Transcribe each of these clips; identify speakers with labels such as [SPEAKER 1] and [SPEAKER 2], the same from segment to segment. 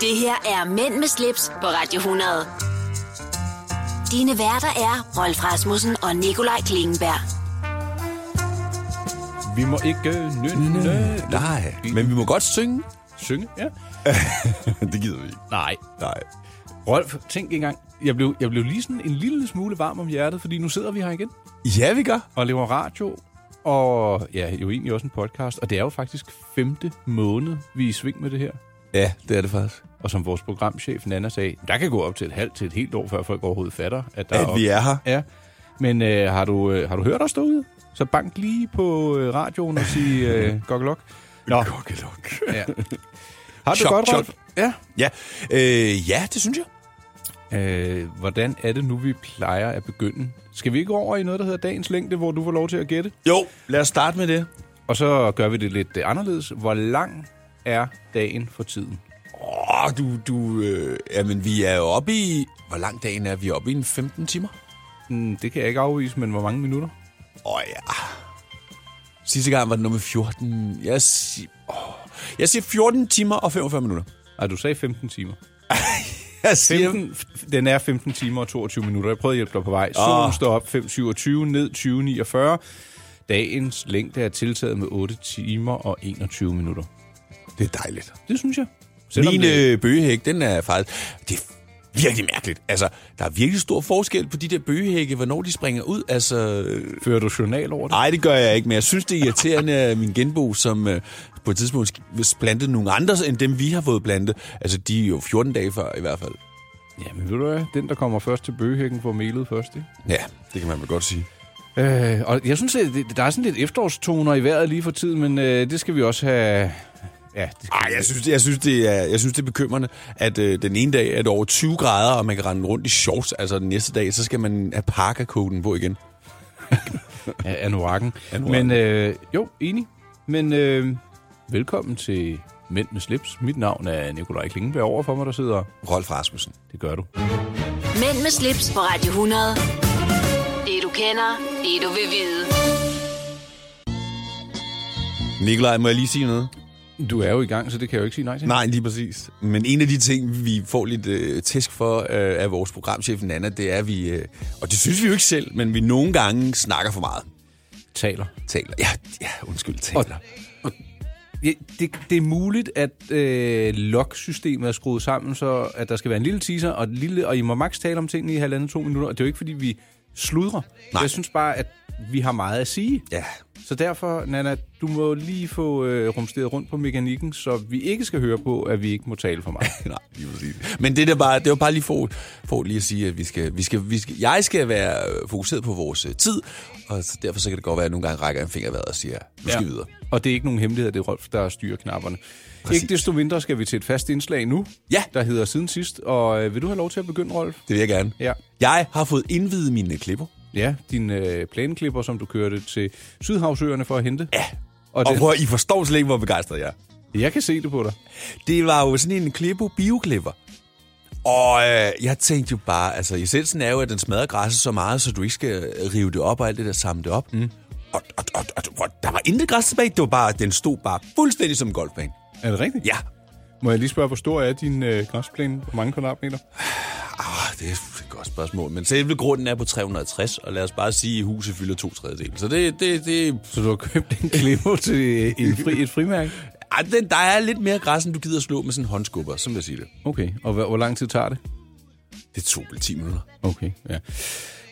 [SPEAKER 1] Det her er Mænd med slips på Radio 100. Dine værter er Rolf Rasmussen og Nikolaj Klingenberg.
[SPEAKER 2] Vi må ikke øh, nynne...
[SPEAKER 3] Nej, men vi må godt synge.
[SPEAKER 2] Synge, ja.
[SPEAKER 3] det gider vi ikke.
[SPEAKER 2] Nej.
[SPEAKER 3] Nej.
[SPEAKER 2] Rolf, tænk engang. Jeg blev, jeg blev lige sådan en lille smule varm om hjertet, fordi nu sidder vi her igen
[SPEAKER 3] Ja, vi gør.
[SPEAKER 2] og laver radio. Og ja, jo egentlig også en podcast. Og det er jo faktisk femte måned, vi er i sving med det her.
[SPEAKER 3] Ja, det er det faktisk.
[SPEAKER 2] Og som vores programchef Nana sagde, der kan gå op til et halvt til et helt år, før folk overhovedet fatter, at der
[SPEAKER 3] At
[SPEAKER 2] op-
[SPEAKER 3] vi er her.
[SPEAKER 2] Ja. Men øh, har, du, øh, har du hørt os derude? Så bank lige på øh, radioen og sig øh, gokkelok. Nå,
[SPEAKER 3] Kokkelok.
[SPEAKER 2] ja. Har du
[SPEAKER 3] Chop,
[SPEAKER 2] godt, Rolf?
[SPEAKER 3] chop.
[SPEAKER 2] Ja.
[SPEAKER 3] Ja. Øh, ja, det synes jeg.
[SPEAKER 2] Øh, hvordan er det nu, vi plejer at begynde? Skal vi ikke over i noget, der hedder dagens længde, hvor du får lov til at gætte?
[SPEAKER 3] Jo, lad os starte med det.
[SPEAKER 2] Og så gør vi det lidt øh, anderledes. Hvor lang er dagen for tiden?
[SPEAKER 3] Åh, oh, du, du, øh, jamen vi er jo oppe i, hvor lang dagen er vi oppe i? En 15 timer?
[SPEAKER 2] Mm, det kan jeg ikke afvise, men hvor mange minutter?
[SPEAKER 3] Åh oh, ja. Sidste gang var det nummer 14. Jeg, sig, oh, jeg siger 14 timer og 45 minutter.
[SPEAKER 2] Ej, du sagde 15 timer.
[SPEAKER 3] Jeg siger,
[SPEAKER 2] 15, f- den er 15 timer og 22 minutter. Jeg prøvede at hjælpe dig på vej. Solen
[SPEAKER 3] Åh.
[SPEAKER 2] står op 5.27, ned 20.49. Dagens længde er tiltaget med 8 timer og 21 minutter.
[SPEAKER 3] det er dejligt.
[SPEAKER 2] Det synes jeg. Selvom
[SPEAKER 3] Min
[SPEAKER 2] det,
[SPEAKER 3] øh, bøgehæk, den er faktisk... Det er virkelig mærkeligt. Altså, der er virkelig stor forskel på de der bøgehække, hvornår de springer ud. Altså, øh,
[SPEAKER 2] fører du journal over det?
[SPEAKER 3] nej, det gør jeg ikke, men jeg synes, det er irriterende, at min genbo, som øh, på et tidspunkt plantede nogle andre, end dem vi har fået plantet, altså, de er jo 14 dage før i hvert fald.
[SPEAKER 2] Jamen ved du hvad, den der kommer først til bøgehækken får melet først, ikke?
[SPEAKER 3] Ja, det kan man vel godt sige.
[SPEAKER 2] Øh, og jeg synes, at det, der er sådan lidt efterårstoner i vejret lige for tiden, men øh, det skal vi også have... Ja, det skal
[SPEAKER 3] Ej, jeg synes, jeg synes, det, er, jeg synes, det er bekymrende, at øh, den ene dag er det over 20 grader, og man kan rende rundt i shorts. Altså den næste dag, så skal man have parkerkoden på igen.
[SPEAKER 2] af anorakken.
[SPEAKER 3] Anorakken.
[SPEAKER 2] Men øh, jo, enig. Men øh, velkommen til Mænd med slips. Mit navn er Nikolaj Klingenberg. Over for mig, der sidder...
[SPEAKER 3] Rolf Rasmussen.
[SPEAKER 2] Det gør du.
[SPEAKER 1] Mænd med slips på Radio 100. Det du kender, det du vil vide.
[SPEAKER 3] Nikolaj, må jeg lige sige noget?
[SPEAKER 2] Du er jo i gang, så det kan jeg jo ikke sige nej til.
[SPEAKER 3] Nej, lige præcis. Men en af de ting, vi får lidt øh, tæsk for øh, af vores programchef Nana, det er, at vi, øh, og det synes vi jo ikke selv, men vi nogle gange snakker for meget.
[SPEAKER 2] Taler.
[SPEAKER 3] Taler. Ja, ja undskyld,
[SPEAKER 2] Og,
[SPEAKER 3] taler.
[SPEAKER 2] og, ja, det, det er muligt, at øh, log-systemet er skruet sammen, så at der skal være en lille teaser, og, et lille, og I må max tale om tingene i halvanden to minutter. Og det er jo ikke, fordi vi sludrer.
[SPEAKER 3] Nej.
[SPEAKER 2] Jeg synes bare, at vi har meget at sige.
[SPEAKER 3] Ja.
[SPEAKER 2] Så derfor, Nana, du må lige få øh, rumsteret rundt på mekanikken, så vi ikke skal høre på, at vi ikke må tale for meget.
[SPEAKER 3] Nej, lige præcis. Men det, der bare, det var bare lige for, for lige at sige, at vi skal, vi skal, vi skal, jeg skal være øh, fokuseret på vores øh, tid, og så derfor så kan det godt være, at jeg nogle gange rækker en finger i vejret og siger, nu skal vi videre.
[SPEAKER 2] Og det er ikke nogen hemmelighed, det er Rolf, der styrer knapperne. Præcis. Ikke desto mindre skal vi til et fast indslag nu,
[SPEAKER 3] Ja.
[SPEAKER 2] der hedder Siden Sidst. Og øh, vil du have lov til at begynde, Rolf?
[SPEAKER 3] Det vil jeg gerne.
[SPEAKER 2] Ja.
[SPEAKER 3] Jeg har fået indvidet mine klipper,
[SPEAKER 2] Ja, din øh, planklipper, som du kørte til Sydhavsøerne for at hente. Ja. Og,
[SPEAKER 3] og
[SPEAKER 2] det,
[SPEAKER 3] prøv at- I forstår slet ikke, hvor begejstret jeg er.
[SPEAKER 2] jeg kan se det på dig.
[SPEAKER 3] Det var jo sådan en klippo bioklipper. Og øh, jeg tænkte jo bare, altså essensen er jo, at den smadrer græsset så meget, så du ikke skal øh, rive det op og alt det der samle det op. Mm. Og, og, og, og, og, der var intet græs tilbage, det var bare, den stod bare fuldstændig som en golfbane.
[SPEAKER 2] Er det rigtigt?
[SPEAKER 3] Ja,
[SPEAKER 2] Må jeg lige spørge, hvor stor er din øh, græsplæne? Hvor mange kvadratmeter?
[SPEAKER 3] ah, det er et godt spørgsmål, men selve grunden er på 360, og lad os bare sige, at huset fylder to tredjedel. Så det, det, det,
[SPEAKER 2] Øh, Så du har købt en klipper til øh, en fri, et frimærke?
[SPEAKER 3] ej, ah, den, der er lidt mere græs, end du gider slå med sådan en håndskubber, som jeg siger det.
[SPEAKER 2] Okay, og hvor, hvor lang tid tager det?
[SPEAKER 3] Det tog vel 10 minutter.
[SPEAKER 2] Okay, ja.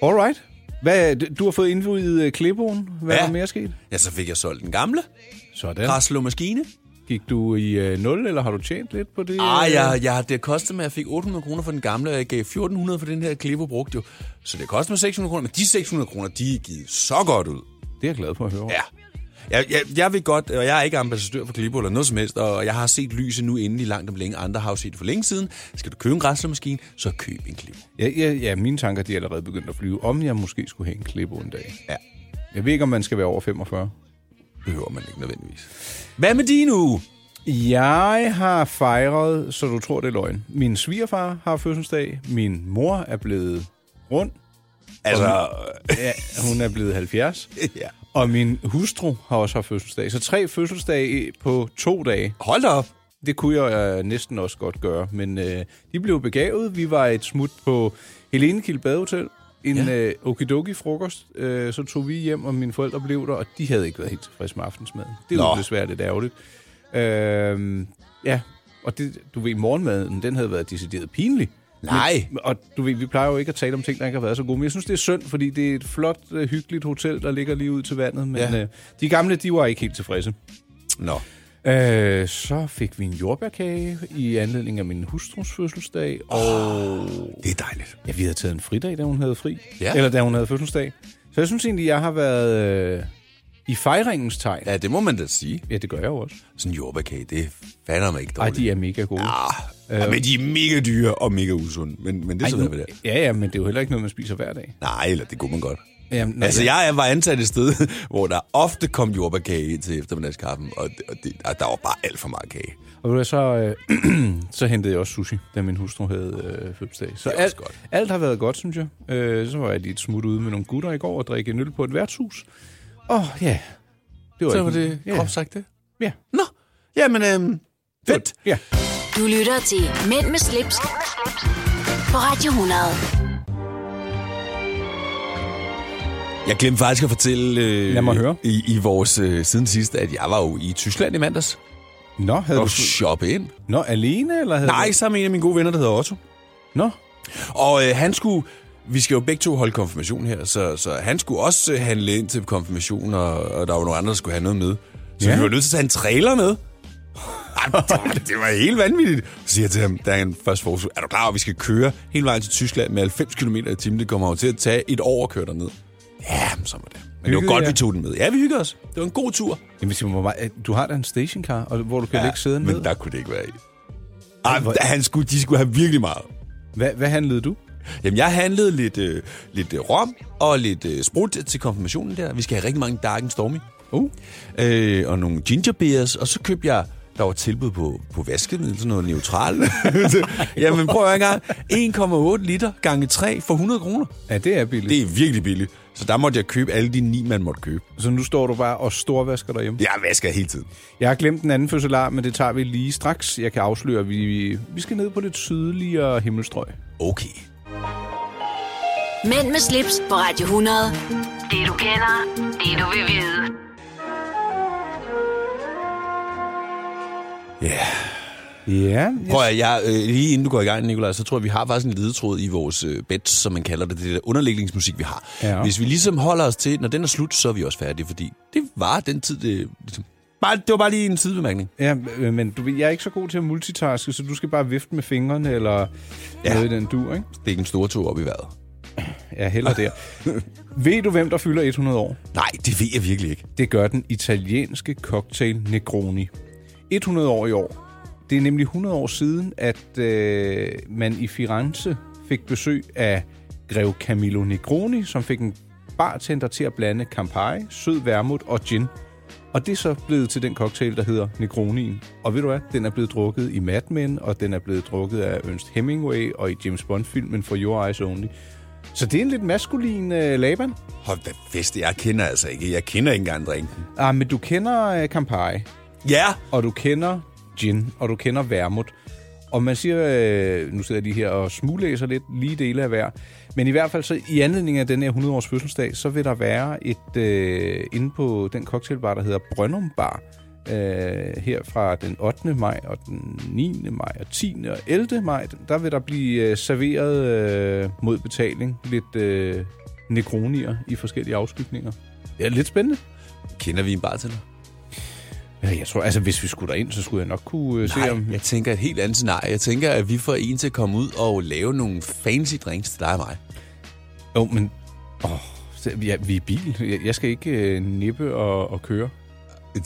[SPEAKER 2] Alright. Hvad, du har fået indvidet øh, klipbogen. Hvad ja.
[SPEAKER 3] Ja.
[SPEAKER 2] er der mere sket?
[SPEAKER 3] Ja, så fik jeg solgt den gamle
[SPEAKER 2] Sådan.
[SPEAKER 3] græsslåmaskine.
[SPEAKER 2] Gik du i øh, 0, eller har du tjent lidt på det?
[SPEAKER 3] Ah, jeg, jeg, det kostede mig, at jeg fik 800 kroner for den gamle, og jeg gav 1400 for den her klipper brugt jo. Så det kostede mig 600 kroner, men de 600 kroner, de er givet så godt ud.
[SPEAKER 2] Det er jeg glad for at høre.
[SPEAKER 3] Ja. Jeg, jeg, jeg vil godt, og jeg er ikke ambassadør for Klippo eller noget som helst, og jeg har set lyset nu endelig langt om længe. Andre har jo set det for længe siden. Skal du købe en græslemaskine, så køb en Klippo.
[SPEAKER 2] Ja, ja, ja, mine tanker de er allerede begyndt at flyve. Om jeg måske skulle have en klipbo en dag.
[SPEAKER 3] Ja.
[SPEAKER 2] Jeg ved ikke, om man skal være over 45.
[SPEAKER 3] Behøver man ikke nødvendigvis. Hvad med din uge?
[SPEAKER 2] Jeg har fejret, så du tror, det er løgn. Min svigerfar har fødselsdag. Min mor er blevet rund. øh,
[SPEAKER 3] Altså,
[SPEAKER 2] Ja, hun er blevet 70.
[SPEAKER 3] ja.
[SPEAKER 2] Og min hustru har også haft fødselsdag. Så tre fødselsdage på to dage.
[SPEAKER 3] hold da op.
[SPEAKER 2] Det kunne jeg øh, næsten også godt gøre, men øh, de blev begavet. Vi var et smut på Helenekilde Badehotel, en ja. øh, okidoki-frokost. Øh, så tog vi hjem, og mine forældre blev der, og de havde ikke været helt tilfredse med aftensmaden. Det var
[SPEAKER 3] Nå.
[SPEAKER 2] jo desværre lidt ærgerligt. Øh, ja, og det, du ved, morgenmaden, den havde været decideret pinlig.
[SPEAKER 3] Nej.
[SPEAKER 2] Men, og du ved, vi plejer jo ikke at tale om ting, der ikke har været så gode. Men jeg synes, det er synd, fordi det er et flot, øh, hyggeligt hotel, der ligger lige ud til vandet. Men
[SPEAKER 3] Ja.
[SPEAKER 2] ja. øh, de gamle, de var ikke helt tilfredse.
[SPEAKER 3] Nå.
[SPEAKER 2] Øh, så fik vi en jordbærkage i anledning af min hustrus fødselsdag, og
[SPEAKER 3] Det er dejligt.
[SPEAKER 2] ja, vi havde taget en fridag, da hun havde fri,
[SPEAKER 3] Ja.
[SPEAKER 2] eller da hun havde fødselsdag. Så jeg synes egentlig, jeg har været øh, i fejringens tegn. Ja.
[SPEAKER 3] Ja, det må man da sige.
[SPEAKER 2] ja, det gør jeg jo også.
[SPEAKER 3] Sådan en jordbærkage, det fander mig ikke
[SPEAKER 2] Ej,
[SPEAKER 3] dårligt.
[SPEAKER 2] de er mega gode.
[SPEAKER 3] Ah,
[SPEAKER 2] Øhm.
[SPEAKER 3] øh. Men de er mega dyre og mega usunde. Men, men det Ej, sidder vi der.
[SPEAKER 2] ja, ja, men det er jo heller ikke noget, man spiser hver dag.
[SPEAKER 3] Nej, eller det kunne man godt.
[SPEAKER 2] Jamen,
[SPEAKER 3] Nå, altså, jeg var ansat et sted, hvor der ofte kom jordbærkage ind til eftermiddagskaffen, og, det, og det, og der var bare alt for meget kage.
[SPEAKER 2] Og ved du hvad, så, øh, så hentede jeg også sushi, da min hustru havde øh, fødselsdag. Så
[SPEAKER 3] Det er også
[SPEAKER 2] alt,
[SPEAKER 3] godt.
[SPEAKER 2] alt har været godt, synes jeg. Øh, så var jeg lige et smut ude med nogle gutter i går og drikke en øl på et værtshus. Og ja, det var, ikke- ja.
[SPEAKER 3] sagt det?
[SPEAKER 2] Ja.
[SPEAKER 3] Nå, jamen, øhm, fedt.
[SPEAKER 2] ja.
[SPEAKER 1] Du lytter til Mænd med slips, på Radio 100.
[SPEAKER 3] Jeg glemte faktisk at fortælle øh,
[SPEAKER 2] Lad mig høre.
[SPEAKER 3] I, i vores øh, siden sidste, at jeg var jo i Tyskland i mandags
[SPEAKER 2] Nå, havde
[SPEAKER 3] og
[SPEAKER 2] du...
[SPEAKER 3] shoppe ind.
[SPEAKER 2] Nå, alene, eller havde
[SPEAKER 3] Nej,
[SPEAKER 2] Du...
[SPEAKER 3] sammen med en af mine gode venner, der hedder Otto.
[SPEAKER 2] Nå,
[SPEAKER 3] Og øh, han skulle... Vi skal jo begge to holde konfirmation her, så, så han skulle også øh, handle ind til konfirmation, og, og der var nogle andre, der skulle have noget med. Så ja.
[SPEAKER 2] Ja.
[SPEAKER 3] vi var nødt til at tage en trailer med. Ej, det, var, det var helt vanvittigt. Så siger jeg til ham, da han først foreslog, er du klar, over, at vi skal køre hele vejen til Tyskland med 90 km i timen? Det kommer jo til at tage et år at køre derned. Ja, men så var det. Men det var
[SPEAKER 2] Hyggede
[SPEAKER 3] godt,
[SPEAKER 2] jer?
[SPEAKER 3] vi tog den med. Ja, vi hyggede os. Det var en god tur.
[SPEAKER 2] Jamen, Simon, hvor meget... øh, du har da en stationcar, og hvor du kan ja,
[SPEAKER 3] ja,
[SPEAKER 2] lægge sæden
[SPEAKER 3] men
[SPEAKER 2] ned.
[SPEAKER 3] der kunne det ikke være i. Ej,
[SPEAKER 2] hvor-
[SPEAKER 3] han skulle, de skulle have virkelig meget.
[SPEAKER 2] Hvad, hvad handlede du?
[SPEAKER 3] Jamen, jeg handlede lidt, øh, lidt øh, rom og lidt øh, sprut til konfirmationen der. Vi skal have rigtig mange Dark and Stormy.
[SPEAKER 2] Uh.
[SPEAKER 3] Øh, og nogle ginger beers, og så købte jeg der var tilbud på, på vaskemiddel, sådan noget neutralt. Jamen prøv at høre en gang. 1,8 liter gange 3 for 100 kroner.
[SPEAKER 2] Ja, det er billigt.
[SPEAKER 3] Det er virkelig billigt. Så der måtte jeg købe alle de ni, man måtte købe.
[SPEAKER 2] Det... Så nu står du bare og storvasker derhjemme.
[SPEAKER 3] Jeg vasker hele tiden.
[SPEAKER 2] Jeg har glemt den anden fødselar, men det tager vi lige straks. Jeg kan afsløre, at vi, vi- vi skal ned på lidt sydligere himmelstrøg.
[SPEAKER 3] Okay.
[SPEAKER 1] Mænd med slips på Radio 100. Det du kender, det du vil vide.
[SPEAKER 3] Ja. Yeah.
[SPEAKER 2] Ja,
[SPEAKER 3] Prøv at jeg, øh, lige inden du går i gang, Nicolaj, så tror jeg, vi har faktisk en ledetråd i vores øh, bets, som man kalder det, det der underlægningsmusik, vi har. Ja.
[SPEAKER 2] Ja.
[SPEAKER 3] Hvis vi ligesom holder os til, når den er slut, så er vi også færdige, fordi det var den tid, det, ligesom, bare, det var bare lige en sidebemærkning.
[SPEAKER 2] Ja, øh, men du, ved, jeg er ikke så god til at multitaske, så du skal bare vifte med fingrene eller
[SPEAKER 3] Ja.
[SPEAKER 2] ja. noget i den dur, ikke?
[SPEAKER 3] Det er ikke en stor tog op i vejret.
[SPEAKER 2] Ja, heller der. Ved du, hvem der fylder 100 år?
[SPEAKER 3] Nej, det ved jeg virkelig ikke.
[SPEAKER 2] Det gør den italienske cocktail Negroni. 100 år i år. Det er nemlig 100 år siden, at øh, man i Firenze fik besøg af grev Camillo Negroni, som fik en bartender til at blande Campari, sød vermut og gin. Og det er så blevet til den cocktail, der hedder Negronien. Og ved du hvad, den er blevet drukket i Mad Men, og den er blevet drukket af Ernst Hemingway og i James Bond-filmen For Your Eyes Only. Så det er en lidt maskulin øh, Laban.
[SPEAKER 3] Hold da fest, jeg kender altså ikke. Jeg kender ikke engang drinken.
[SPEAKER 2] Ah, men du kender øh, Campari.
[SPEAKER 3] Ja,
[SPEAKER 2] og du kender gin, og du kender vermut. Og man siger, øh, nu sidder jeg lige her og smuglæser lidt, lige dele af hver. Men i hvert fald så i anledning af den her 100-års fødselsdag, så vil der være et, øh, inde på den cocktailbar, der hedder Brøndum Bar, øh, her fra den 8. maj og den 9. maj og 10. og 11. maj, der vil der blive øh, serveret øh, mod betaling lidt øh, negronier i forskellige afskygninger. Det er lidt spændende.
[SPEAKER 3] kender vi en bartender?
[SPEAKER 2] Ja, jeg tror, altså hvis vi skulle derind, så skulle jeg nok kunne øh, se, om
[SPEAKER 3] jeg tænker et helt andet scenarie. Jeg tænker, at vi får en til at komme ud og lave nogle fancy drinks til dig og mig.
[SPEAKER 2] Jo, men... Åh, så- ja, vi er i bil. Jeg- Jeg skal ikke øh, nippe og, og køre.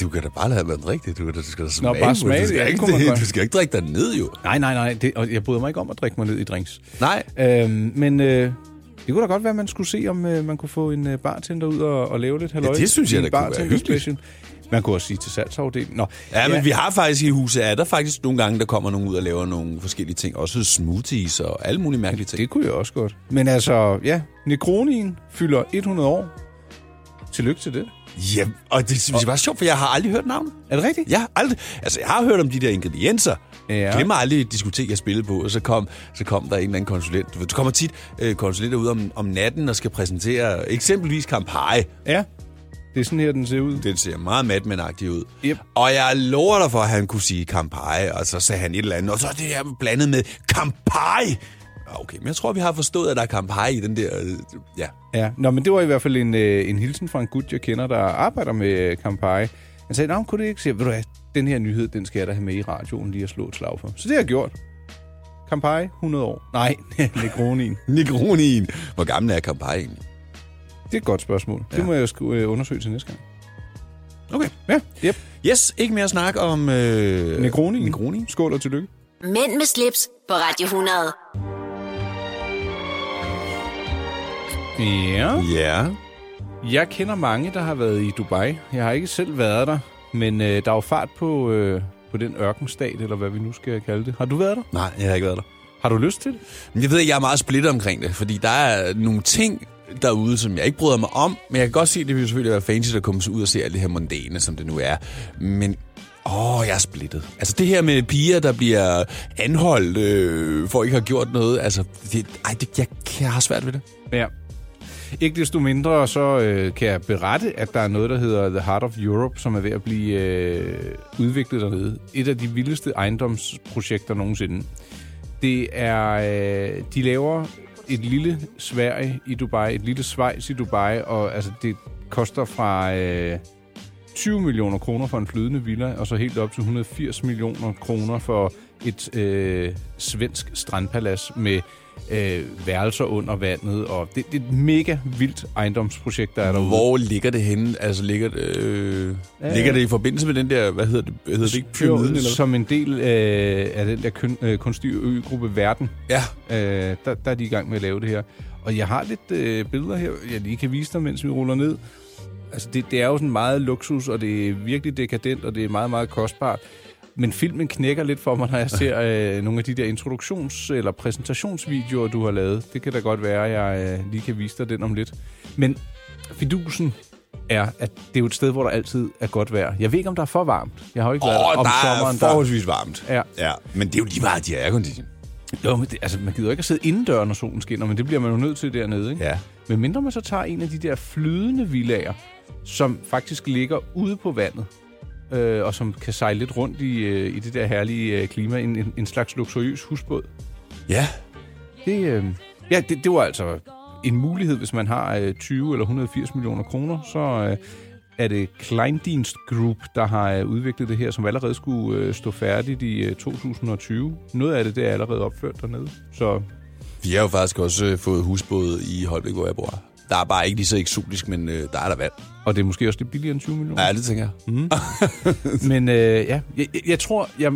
[SPEAKER 3] Du kan da bare lade være med at drikke det. Du, kan da, du skal da smage,
[SPEAKER 2] bare
[SPEAKER 3] på
[SPEAKER 2] smage
[SPEAKER 3] Du
[SPEAKER 2] det.
[SPEAKER 3] skal,
[SPEAKER 2] Ja, det
[SPEAKER 3] ikke,
[SPEAKER 2] kunne man
[SPEAKER 3] det,
[SPEAKER 2] godt.
[SPEAKER 3] du skal ikke drikke dig ned, jo.
[SPEAKER 2] Nej, nej, nej. Det, og jeg bryder mig ikke om at drikke mig ned i drinks.
[SPEAKER 3] Nej.
[SPEAKER 2] Øhm, men øh, det kunne da godt være, at man skulle se, om øh, man kunne få en øh, bartender ud og, og lave lidt halløj.
[SPEAKER 3] det synes jeg,
[SPEAKER 2] i
[SPEAKER 3] da
[SPEAKER 2] en
[SPEAKER 3] kunne være
[SPEAKER 2] bartender
[SPEAKER 3] hyggeligt.
[SPEAKER 2] special. Man kunne også sige til salgsafdelingen. Nå,
[SPEAKER 3] Ja, men vi har faktisk i huset, er der faktisk nogle gange, der kommer nogen ud og laver nogle forskellige ting. Også smoothies og alle mulige mærkelige ting.
[SPEAKER 2] Det kunne jeg også godt. Men altså, ja, Negronien fylder 100 år. Tillykke til det.
[SPEAKER 3] Ja, og det synes jeg var sjovt, for jeg har aldrig hørt navnet.
[SPEAKER 2] Er det rigtigt?
[SPEAKER 3] Jeg har aldrig, altså, jeg har hørt om de der ingredienser.
[SPEAKER 2] Ja.
[SPEAKER 3] Ja. Glemmer aldrig et diskotek, jeg spillede på, og så kom, så kom der en eller anden konsulent. Du ved, Der kommer tit øh, konsulenter ud om, om natten og skal præsentere eksempelvis Campari.
[SPEAKER 2] Ja. Det er sådan her, den ser ud.
[SPEAKER 3] Den ser meget madman ud.
[SPEAKER 2] Yep.
[SPEAKER 3] Og jeg lover dig for, at han kunne sige Campari, og så sagde han et eller andet, og så er det her blandet med Campari. Ah, Okay, men jeg tror, vi har forstået, at der er Campari i den der... øh, Ja,
[SPEAKER 2] Ja, Nå, men det var i hvert fald en, øh, en hilsen fra en gut, jeg kender, der arbejder med øh, Campari. Han sagde, at kunne det ikke se, ved du hvad, den her nyhed, den skal jeg da have med i radioen lige at slå et slag for. Så det har jeg gjort. Campari, 100 år. Nej, Negronin.
[SPEAKER 3] Negronien. Hvor gammel er Campari egentlig?
[SPEAKER 2] Det er et godt spørgsmål. Det
[SPEAKER 3] Ja.
[SPEAKER 2] må jeg sku, øh, undersøge til næste gang.
[SPEAKER 3] Okay.
[SPEAKER 2] Ja, yep.
[SPEAKER 3] Yes, ikke mere snak om... Øh,
[SPEAKER 2] Negronin.
[SPEAKER 3] Negronin.
[SPEAKER 2] Skål og tillykke.
[SPEAKER 1] Mænd med slips på Radio 100.
[SPEAKER 2] Ja.
[SPEAKER 3] Ja.
[SPEAKER 2] Jeg kender mange, der har været i Dubai. Jeg har ikke selv været der, men øh, der er jo fart på, øh, på den ørkenstat, eller hvad vi nu skal kalde det. Har du været der?
[SPEAKER 3] Nej, jeg har ikke været der.
[SPEAKER 2] Har du lyst til det?
[SPEAKER 3] Men Jeg ved, at jeg er meget splittet omkring det, fordi der er nogle ting derude, som jeg ikke bryder mig om, men jeg kan godt se, at det vil selvfølgelig være fancy at komme ud og se alt det her mondæne, som det nu er. Men åh, jeg er splittet. Altså det her med piger, der bliver anholdt øh, for ikke at have gjort noget, altså det, ej, det, jeg, jeg har svært ved det.
[SPEAKER 2] Ja. Ikke desto mindre, så øh, kan jeg berette, at der er noget, der hedder The Heart of Europe, som er ved at blive øh, udviklet dernede. Et af de vildeste ejendomsprojekter nogensinde. Det er, øh, de laver et lille Sverige i Dubai, et lille Schweiz i Dubai, og altså, det koster fra øh, 20 millioner kroner for en flydende villa, og så helt op til 180 millioner kroner for et øh, svensk strandpalads med øh, værelser under vandet. Og det, det er et mega vildt ejendomsprojekt, der er derude.
[SPEAKER 3] Hvor ligger det henne? Altså ligger, det, øh,
[SPEAKER 2] Ja,
[SPEAKER 3] ja, ligger
[SPEAKER 2] ja.
[SPEAKER 3] det i forbindelse med den der, hvad hedder det, hedder det ikke pyramiden? Eller? hvad?
[SPEAKER 2] Som en del øh, af den der kun, øh, kunstige øgruppe Verden,
[SPEAKER 3] Ja,
[SPEAKER 2] Øh, der, der er de i gang med at lave det her. Og jeg har lidt øh, billeder her, jeg lige kan vise dig, mens vi ruller ned. Altså, det, det er jo sådan meget luksus, og det er virkelig dekadent, og det er meget, meget kostbart. Men filmen knækker lidt for mig, når jeg ser øh, nogle af de der introduktions- eller præsentationsvideoer, du har lavet. Det kan da godt være, at jeg øh, lige kan vise dig den om lidt. Men fidusen er, at det er jo et sted, hvor der altid er godt vejr. Jeg ved ikke, om der er for varmt. Jeg har jo ikke været
[SPEAKER 3] Åh,
[SPEAKER 2] om
[SPEAKER 3] der er
[SPEAKER 2] sommeren.
[SPEAKER 3] forholdsvis varmt.
[SPEAKER 2] Ja.
[SPEAKER 3] ja. Men det er jo lige meget, de er aircondition.
[SPEAKER 2] Jo, men det, altså, man gider jo ikke at sidde indendør, når solen skinner, men det bliver man jo nødt til dernede, ikke?
[SPEAKER 3] Ja.
[SPEAKER 2] Men mindre man så tager en af de der flydende villager, som faktisk ligger ude på vandet, øh, og som kan sejle lidt rundt i, øh, i det der herlige øh, klima, en, en, en slags luksuriøs husbåd.
[SPEAKER 3] Ja.
[SPEAKER 2] Det, øh, ja, det, det var altså en mulighed, hvis man har øh, 20 eller 180 millioner kroner, så øh, er det Kleindienst Group, der har øh, udviklet det her, som allerede skulle øh, stå færdigt i øh, 2020. Noget af det, det er allerede opført dernede, så
[SPEAKER 3] Vi har jo faktisk også øh, fået husbåd i Holbæk, hvor jeg bor. Der er bare ikke lige så eksotisk, men øh, der er der vand.
[SPEAKER 2] Og det er måske også lidt billigere end 20 millioner.
[SPEAKER 3] Ja, det tænker jeg. Mm.
[SPEAKER 2] Men øh, ja, jeg, jeg- jeg tror, jeg,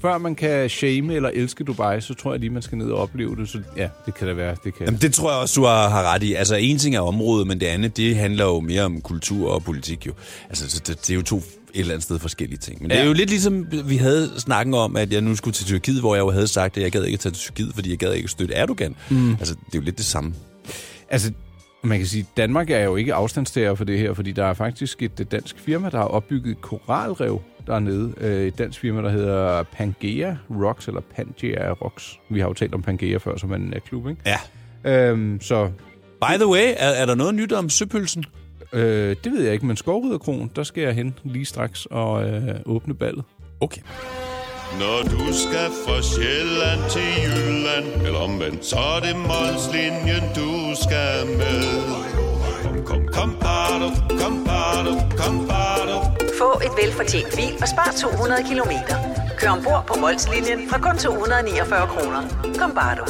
[SPEAKER 2] før man kan shame eller elske Dubai, så tror jeg lige, man skal ned og opleve det. Så ja, det kan da være. Det kan.
[SPEAKER 3] Jamen, det tror jeg også, du har, har ret i. Altså, en ting er området, men det andet, det handler jo mere om kultur og politik jo. Altså, så det, det er jo to et eller andet sted forskellige ting. Men ja. det er
[SPEAKER 2] Ja.
[SPEAKER 3] jo lidt ligesom, vi havde snakken om, at jeg nu skulle til Tyrkiet, hvor jeg jo havde sagt, at jeg gad ikke at tage til Tyrkiet, fordi jeg gad ikke at støtte Erdogan. Mm. Altså, det er jo lidt det samme.
[SPEAKER 2] Altså, man kan sige, Danmark er jo ikke afstandstager for det her, fordi der er faktisk et øh, dansk firma, der har opbygget et koralrev dernede. Øh, Et dansk firma, der hedder Pangea Rocks, eller Pangea Rocks. Vi har jo talt om Pangea før, som er en øh, klub, ikke?
[SPEAKER 3] Ja.
[SPEAKER 2] Øhm, så
[SPEAKER 3] By the way, er, er der noget nyt om søpølsen?
[SPEAKER 2] øh, det ved jeg ikke, men Skovriderkron, der skal jeg hen lige straks og øh, åbne ballet.
[SPEAKER 3] Okay.
[SPEAKER 4] Når du skal fra Sjælland til Jylland Eller omvendt, så er det Molslinjen, du skal med Kom, kom, kom, bado, kom, bado, kom, bado.
[SPEAKER 5] Få et velfortjent bil og spar 200 kilometer. Kør ombord på Molslinjen fra kun 249 kroner. Kom bare du.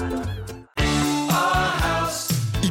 [SPEAKER 6] I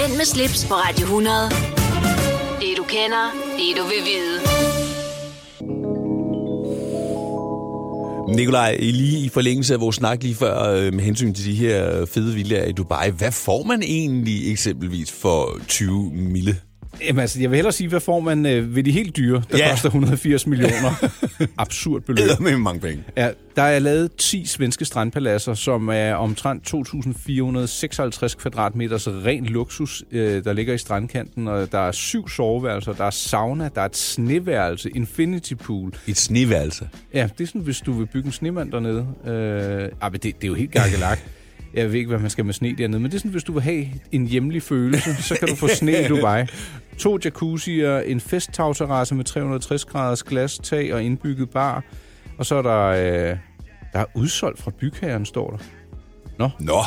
[SPEAKER 1] Mænd med slips på Radio 100. Det du kender, det du vil vide.
[SPEAKER 3] Nikolaj, lige i forlængelse af vores snak lige før øh, med hensyn til de her øh, fede villaer i Dubai, hvad får man egentlig eksempelvis for 20 mille?
[SPEAKER 2] Jamen altså, jeg vil hellere sige, hvad får man øh, ved de helt dyre, der
[SPEAKER 3] Ja.
[SPEAKER 2] ja. koster 180 millioner? Absurd beløb.
[SPEAKER 3] Eller med mange penge.
[SPEAKER 2] Ja, der er lavet 10 svenske strandpaladser, som er omtrent 2.456 kvadratmeters ren luksus, øh, der ligger i strandkanten. Og der er syv soveværelser, der er sauna, der er et sneværelse, infinity pool.
[SPEAKER 3] Et sneværelse.
[SPEAKER 2] Ja, det er sådan, hvis du vil bygge en snemand dernede. Øh, ah, men det, det er jo helt gakkelagt. Jeg ved ikke, hvad man skal med sne dernede, men det er sådan, hvis du vil have en hjemlig følelse, så kan du få sne i Dubai. To jacuzzier, en festtagterrasse med 360 graders glastag og indbygget bar. Og så er der, øh, der er udsolgt fra bygherren, står der.
[SPEAKER 3] Nå,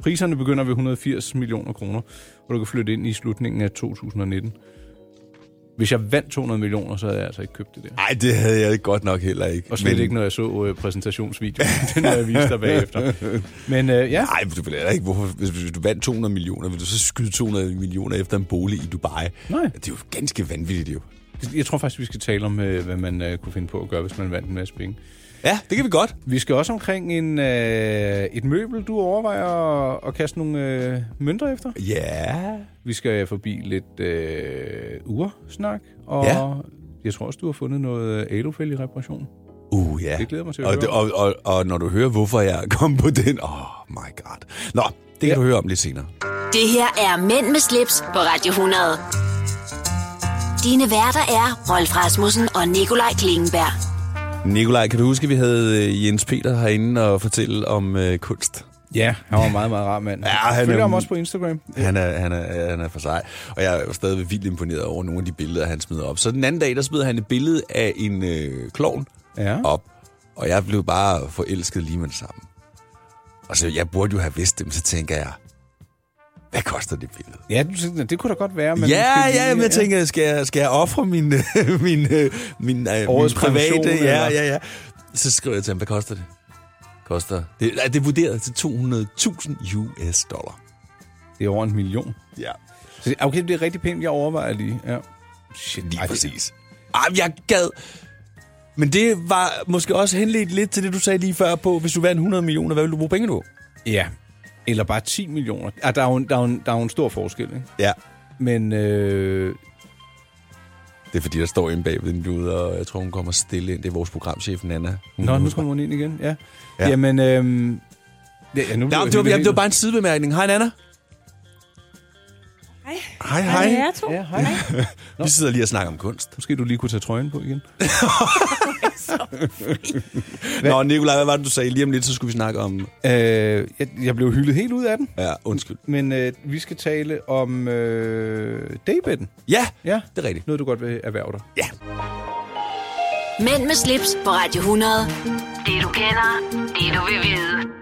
[SPEAKER 2] Priserne begynder ved 180 millioner kroner, og du kan flytte ind i slutningen af 2019. Hvis jeg vandt 200 millioner, så havde jeg altså ikke købt det der.
[SPEAKER 3] nej, det havde jeg godt nok heller ikke.
[SPEAKER 2] Og slet men... ikke, når jeg så øh, præsentationsvideoen. Den har jeg vist dig bagefter. Men øh, ja,
[SPEAKER 3] Nej, du vil heller ikke. Hvorfor, hvis, hvis du vandt 200 millioner, vil du så skyde 200 millioner efter en bolig i Dubai?
[SPEAKER 2] Nej.
[SPEAKER 3] Det er jo ganske vanvittigt, jo.
[SPEAKER 2] jeg tror faktisk, vi skal tale om, øh, hvad man øh, kunne finde på at gøre, hvis man vandt en masse penge.
[SPEAKER 3] Ja, det kan vi godt.
[SPEAKER 2] Vi skal også omkring en, øh, et møbel, du overvejer at, at kaste nogle øh, mønter efter.
[SPEAKER 3] Ja.
[SPEAKER 2] Vi skal forbi lidt øh, ursnak, og
[SPEAKER 3] Ja.
[SPEAKER 2] ja. jeg tror også, du har fundet noget alofælge reparation.
[SPEAKER 3] Uh, ja.
[SPEAKER 2] Det glæder jeg mig til at
[SPEAKER 3] og,
[SPEAKER 2] høre
[SPEAKER 3] det- og, og, og når du hører, hvorfor jeg kom på den... Oh my god. Nå, det kan
[SPEAKER 2] Ja.
[SPEAKER 3] du høre om lidt senere.
[SPEAKER 1] Det her er Mænd med slips på Radio 100. Dine værter er Rolf Rasmussen og Nikolaj Klingenberg.
[SPEAKER 3] Nikolaj, kan du huske, at vi havde øh, Jens Peter herinde og fortælle om øh, kunst?
[SPEAKER 2] Ja, han var en meget, meget rar mand.
[SPEAKER 3] Ja, han er-
[SPEAKER 2] Følger ham også på Instagram.
[SPEAKER 3] Han er, han, er, han er for sej. Og jeg er jo stadig vildt imponeret over nogle af de billeder, han smider op. Så den anden dag, der smider han et billede af en øh, klovn
[SPEAKER 2] Ja.
[SPEAKER 3] op. Og jeg blev bare forelsket lige med det samme. Og så jeg burde jo have vidst dem, så tænker jeg, hvad koster det billede?
[SPEAKER 2] Ja, du tænkte, det kunne da godt være. Men
[SPEAKER 3] Ja,
[SPEAKER 2] måske
[SPEAKER 3] ja,
[SPEAKER 2] lige-
[SPEAKER 3] men jeg tænker, skal jeg, skal jeg ofre min, øh, min, øh, min, øh, min
[SPEAKER 2] Årets pension,
[SPEAKER 3] private? Ja,
[SPEAKER 2] eller?
[SPEAKER 3] ja, ja. Så skriver jeg til ham, hvad koster det? Koster, det, nej, det er vurderet til 200.000 US dollar.
[SPEAKER 2] Det er over en million.
[SPEAKER 3] Ja,
[SPEAKER 2] Så det- Okay, det er rigtig pænt, jeg overvejer lige. Ja. Shit,
[SPEAKER 3] lige præcis. Ej, men jeg gad. Men det var måske også henledt lidt til det, du sagde lige før på, hvis du vandt 100 millioner, hvad ville du bruge penge på?
[SPEAKER 2] Ja. Eller bare 10 millioner. Ah, der, er jo, en- der, er jo, en- der er jo en stor forskel, ikke?
[SPEAKER 3] Ja,
[SPEAKER 2] Men øh,
[SPEAKER 3] det er fordi, der står inde bagved en jude, og jeg tror, hun kommer stille ind. Det er vores programchef, Nana. Hun
[SPEAKER 2] nå, nu kommer hun ind igen. Ja.
[SPEAKER 3] Ja.
[SPEAKER 2] ja. Jamen, øh, ja, ja, nu blev
[SPEAKER 3] Nå,
[SPEAKER 2] jeg
[SPEAKER 3] men det, var,
[SPEAKER 2] helt
[SPEAKER 3] jamen, det var
[SPEAKER 2] vildt.
[SPEAKER 3] bare en sidebemærkning. Hej, Nana. Hej. Hej,
[SPEAKER 7] Hej.
[SPEAKER 3] hej.
[SPEAKER 7] Jeg to.
[SPEAKER 2] Ja, hej.
[SPEAKER 3] Vi sidder lige og snakker om kunst.
[SPEAKER 2] Måske du lige kunne tage trøjen på igen.
[SPEAKER 3] Nå, Nikolaj, hvad var det, du sagde? Lige om lidt, så skulle vi snakke om...
[SPEAKER 2] Øh, jeg, jeg blev hyldet helt ud af den.
[SPEAKER 3] Ja, undskyld.
[SPEAKER 2] Men øh, vi skal tale om øh, daybedden.
[SPEAKER 3] Ja,
[SPEAKER 2] Ja.
[SPEAKER 3] det er rigtigt.
[SPEAKER 2] Noget, du godt vil erhverve dig.
[SPEAKER 1] Mænd med slips på Radio 100. Det du kender, det du vil vide.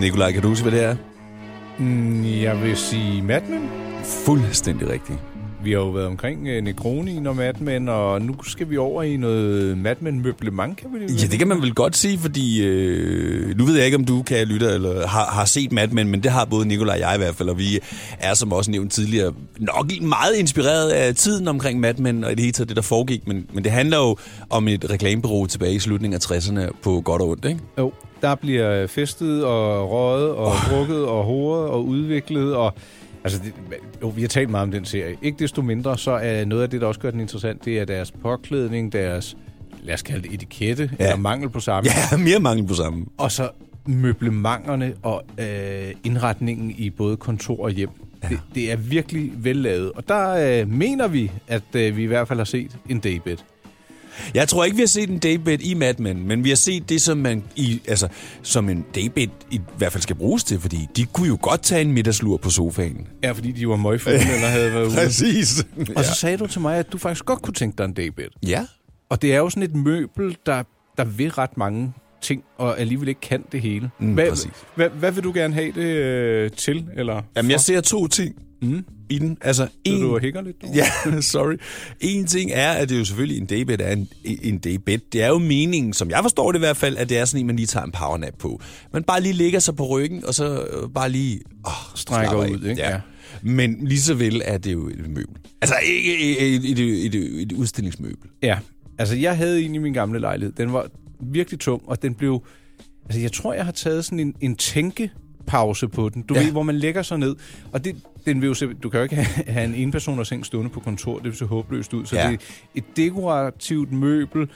[SPEAKER 3] Nikolaj, kan du huske, hvad det er?
[SPEAKER 2] Jeg vil sige Mad Men.
[SPEAKER 3] Fuldstændig rigtigt.
[SPEAKER 2] Vi har jo været omkring øh, Necronien og Mad Men, og nu skal vi over i noget Mad Men møblement, kan vi det?
[SPEAKER 3] Ja, det kan man vel godt sige, fordi... Øh, nu ved jeg ikke, om du kan lytte eller har, har set Mad Men, men det har både Nikolaj og jeg i hvert fald, og vi er, som også nævnt tidligere, nok meget inspireret af tiden omkring Mad Men, og i det hele taget det, der foregik. Men, men det handler jo om et reklamebureau tilbage i slutningen af 60'erne på godt og ondt, ikke?
[SPEAKER 2] Jo, der bliver øh, festet og røget og oh. drukket og hovedet og udviklet og... Altså, det, jo, vi har talt meget om den serie. Ikke desto mindre, så er noget af det, der også gør den interessant, det er deres påklædning, deres, lad os kalde det etikette, ja. eller mangel på samme.
[SPEAKER 3] Ja, mere mangel på sammen.
[SPEAKER 2] Og så møblementerne og øh, indretningen i både kontor og hjem. Ja. Det, det er virkelig vellavet. Og der øh, mener vi, at øh, vi i hvert fald har set en daybed.
[SPEAKER 3] Jeg tror ikke, vi har set en daybed i Mad Men, men vi har set det, som, man i, altså, som en daybed i hvert fald skal bruges til, fordi de kunne jo godt tage en middagslur på sofaen.
[SPEAKER 2] Ja, fordi de var møgfulde, eller havde været ude.
[SPEAKER 3] Præcis.
[SPEAKER 2] Og så sagde du til mig, at du faktisk godt kunne tænke dig en daybed.
[SPEAKER 3] Ja.
[SPEAKER 2] Og det er jo sådan et møbel, der, der vil ret mange ting, og alligevel ikke kan det hele.
[SPEAKER 3] Mm,
[SPEAKER 2] hvad,
[SPEAKER 3] præcis.
[SPEAKER 2] hvad, hvad vil du gerne have det øh, til? Eller
[SPEAKER 3] Jamen, jeg
[SPEAKER 2] for?
[SPEAKER 3] ser to ting mm. i den. Altså,
[SPEAKER 2] Så
[SPEAKER 3] en...
[SPEAKER 2] du hækker lidt? dog?
[SPEAKER 3] Ja, sorry. En ting er, at det jo selvfølgelig en daybed er en, en daybed. Det er jo meningen, som jeg forstår det i hvert fald, at det er sådan en, man lige tager en powernap på. Man bare lige ligger sig på ryggen, og så øh, bare lige... Åh,
[SPEAKER 2] Strækker
[SPEAKER 3] slapper af.
[SPEAKER 2] ud, ikke?
[SPEAKER 3] Ja.
[SPEAKER 2] Ja.
[SPEAKER 3] Men lige så vel er det jo et møbel. Altså ikke et, et, et, et, et udstillingsmøbel.
[SPEAKER 2] Ja, altså jeg havde en i min gamle lejlighed. Den var virkelig tung, og den blev... Altså jeg tror, jeg har taget sådan en, en tænkepause på den. Du ja.
[SPEAKER 3] Ja.
[SPEAKER 2] ved, hvor man lægger sig ned. Og det, den vil jo se, du kan jo ikke have have en enpersoners seng stående på kontor. Det vil se håbløst ud. Så
[SPEAKER 3] Ja.
[SPEAKER 2] ja. det er et dekorativt møbel.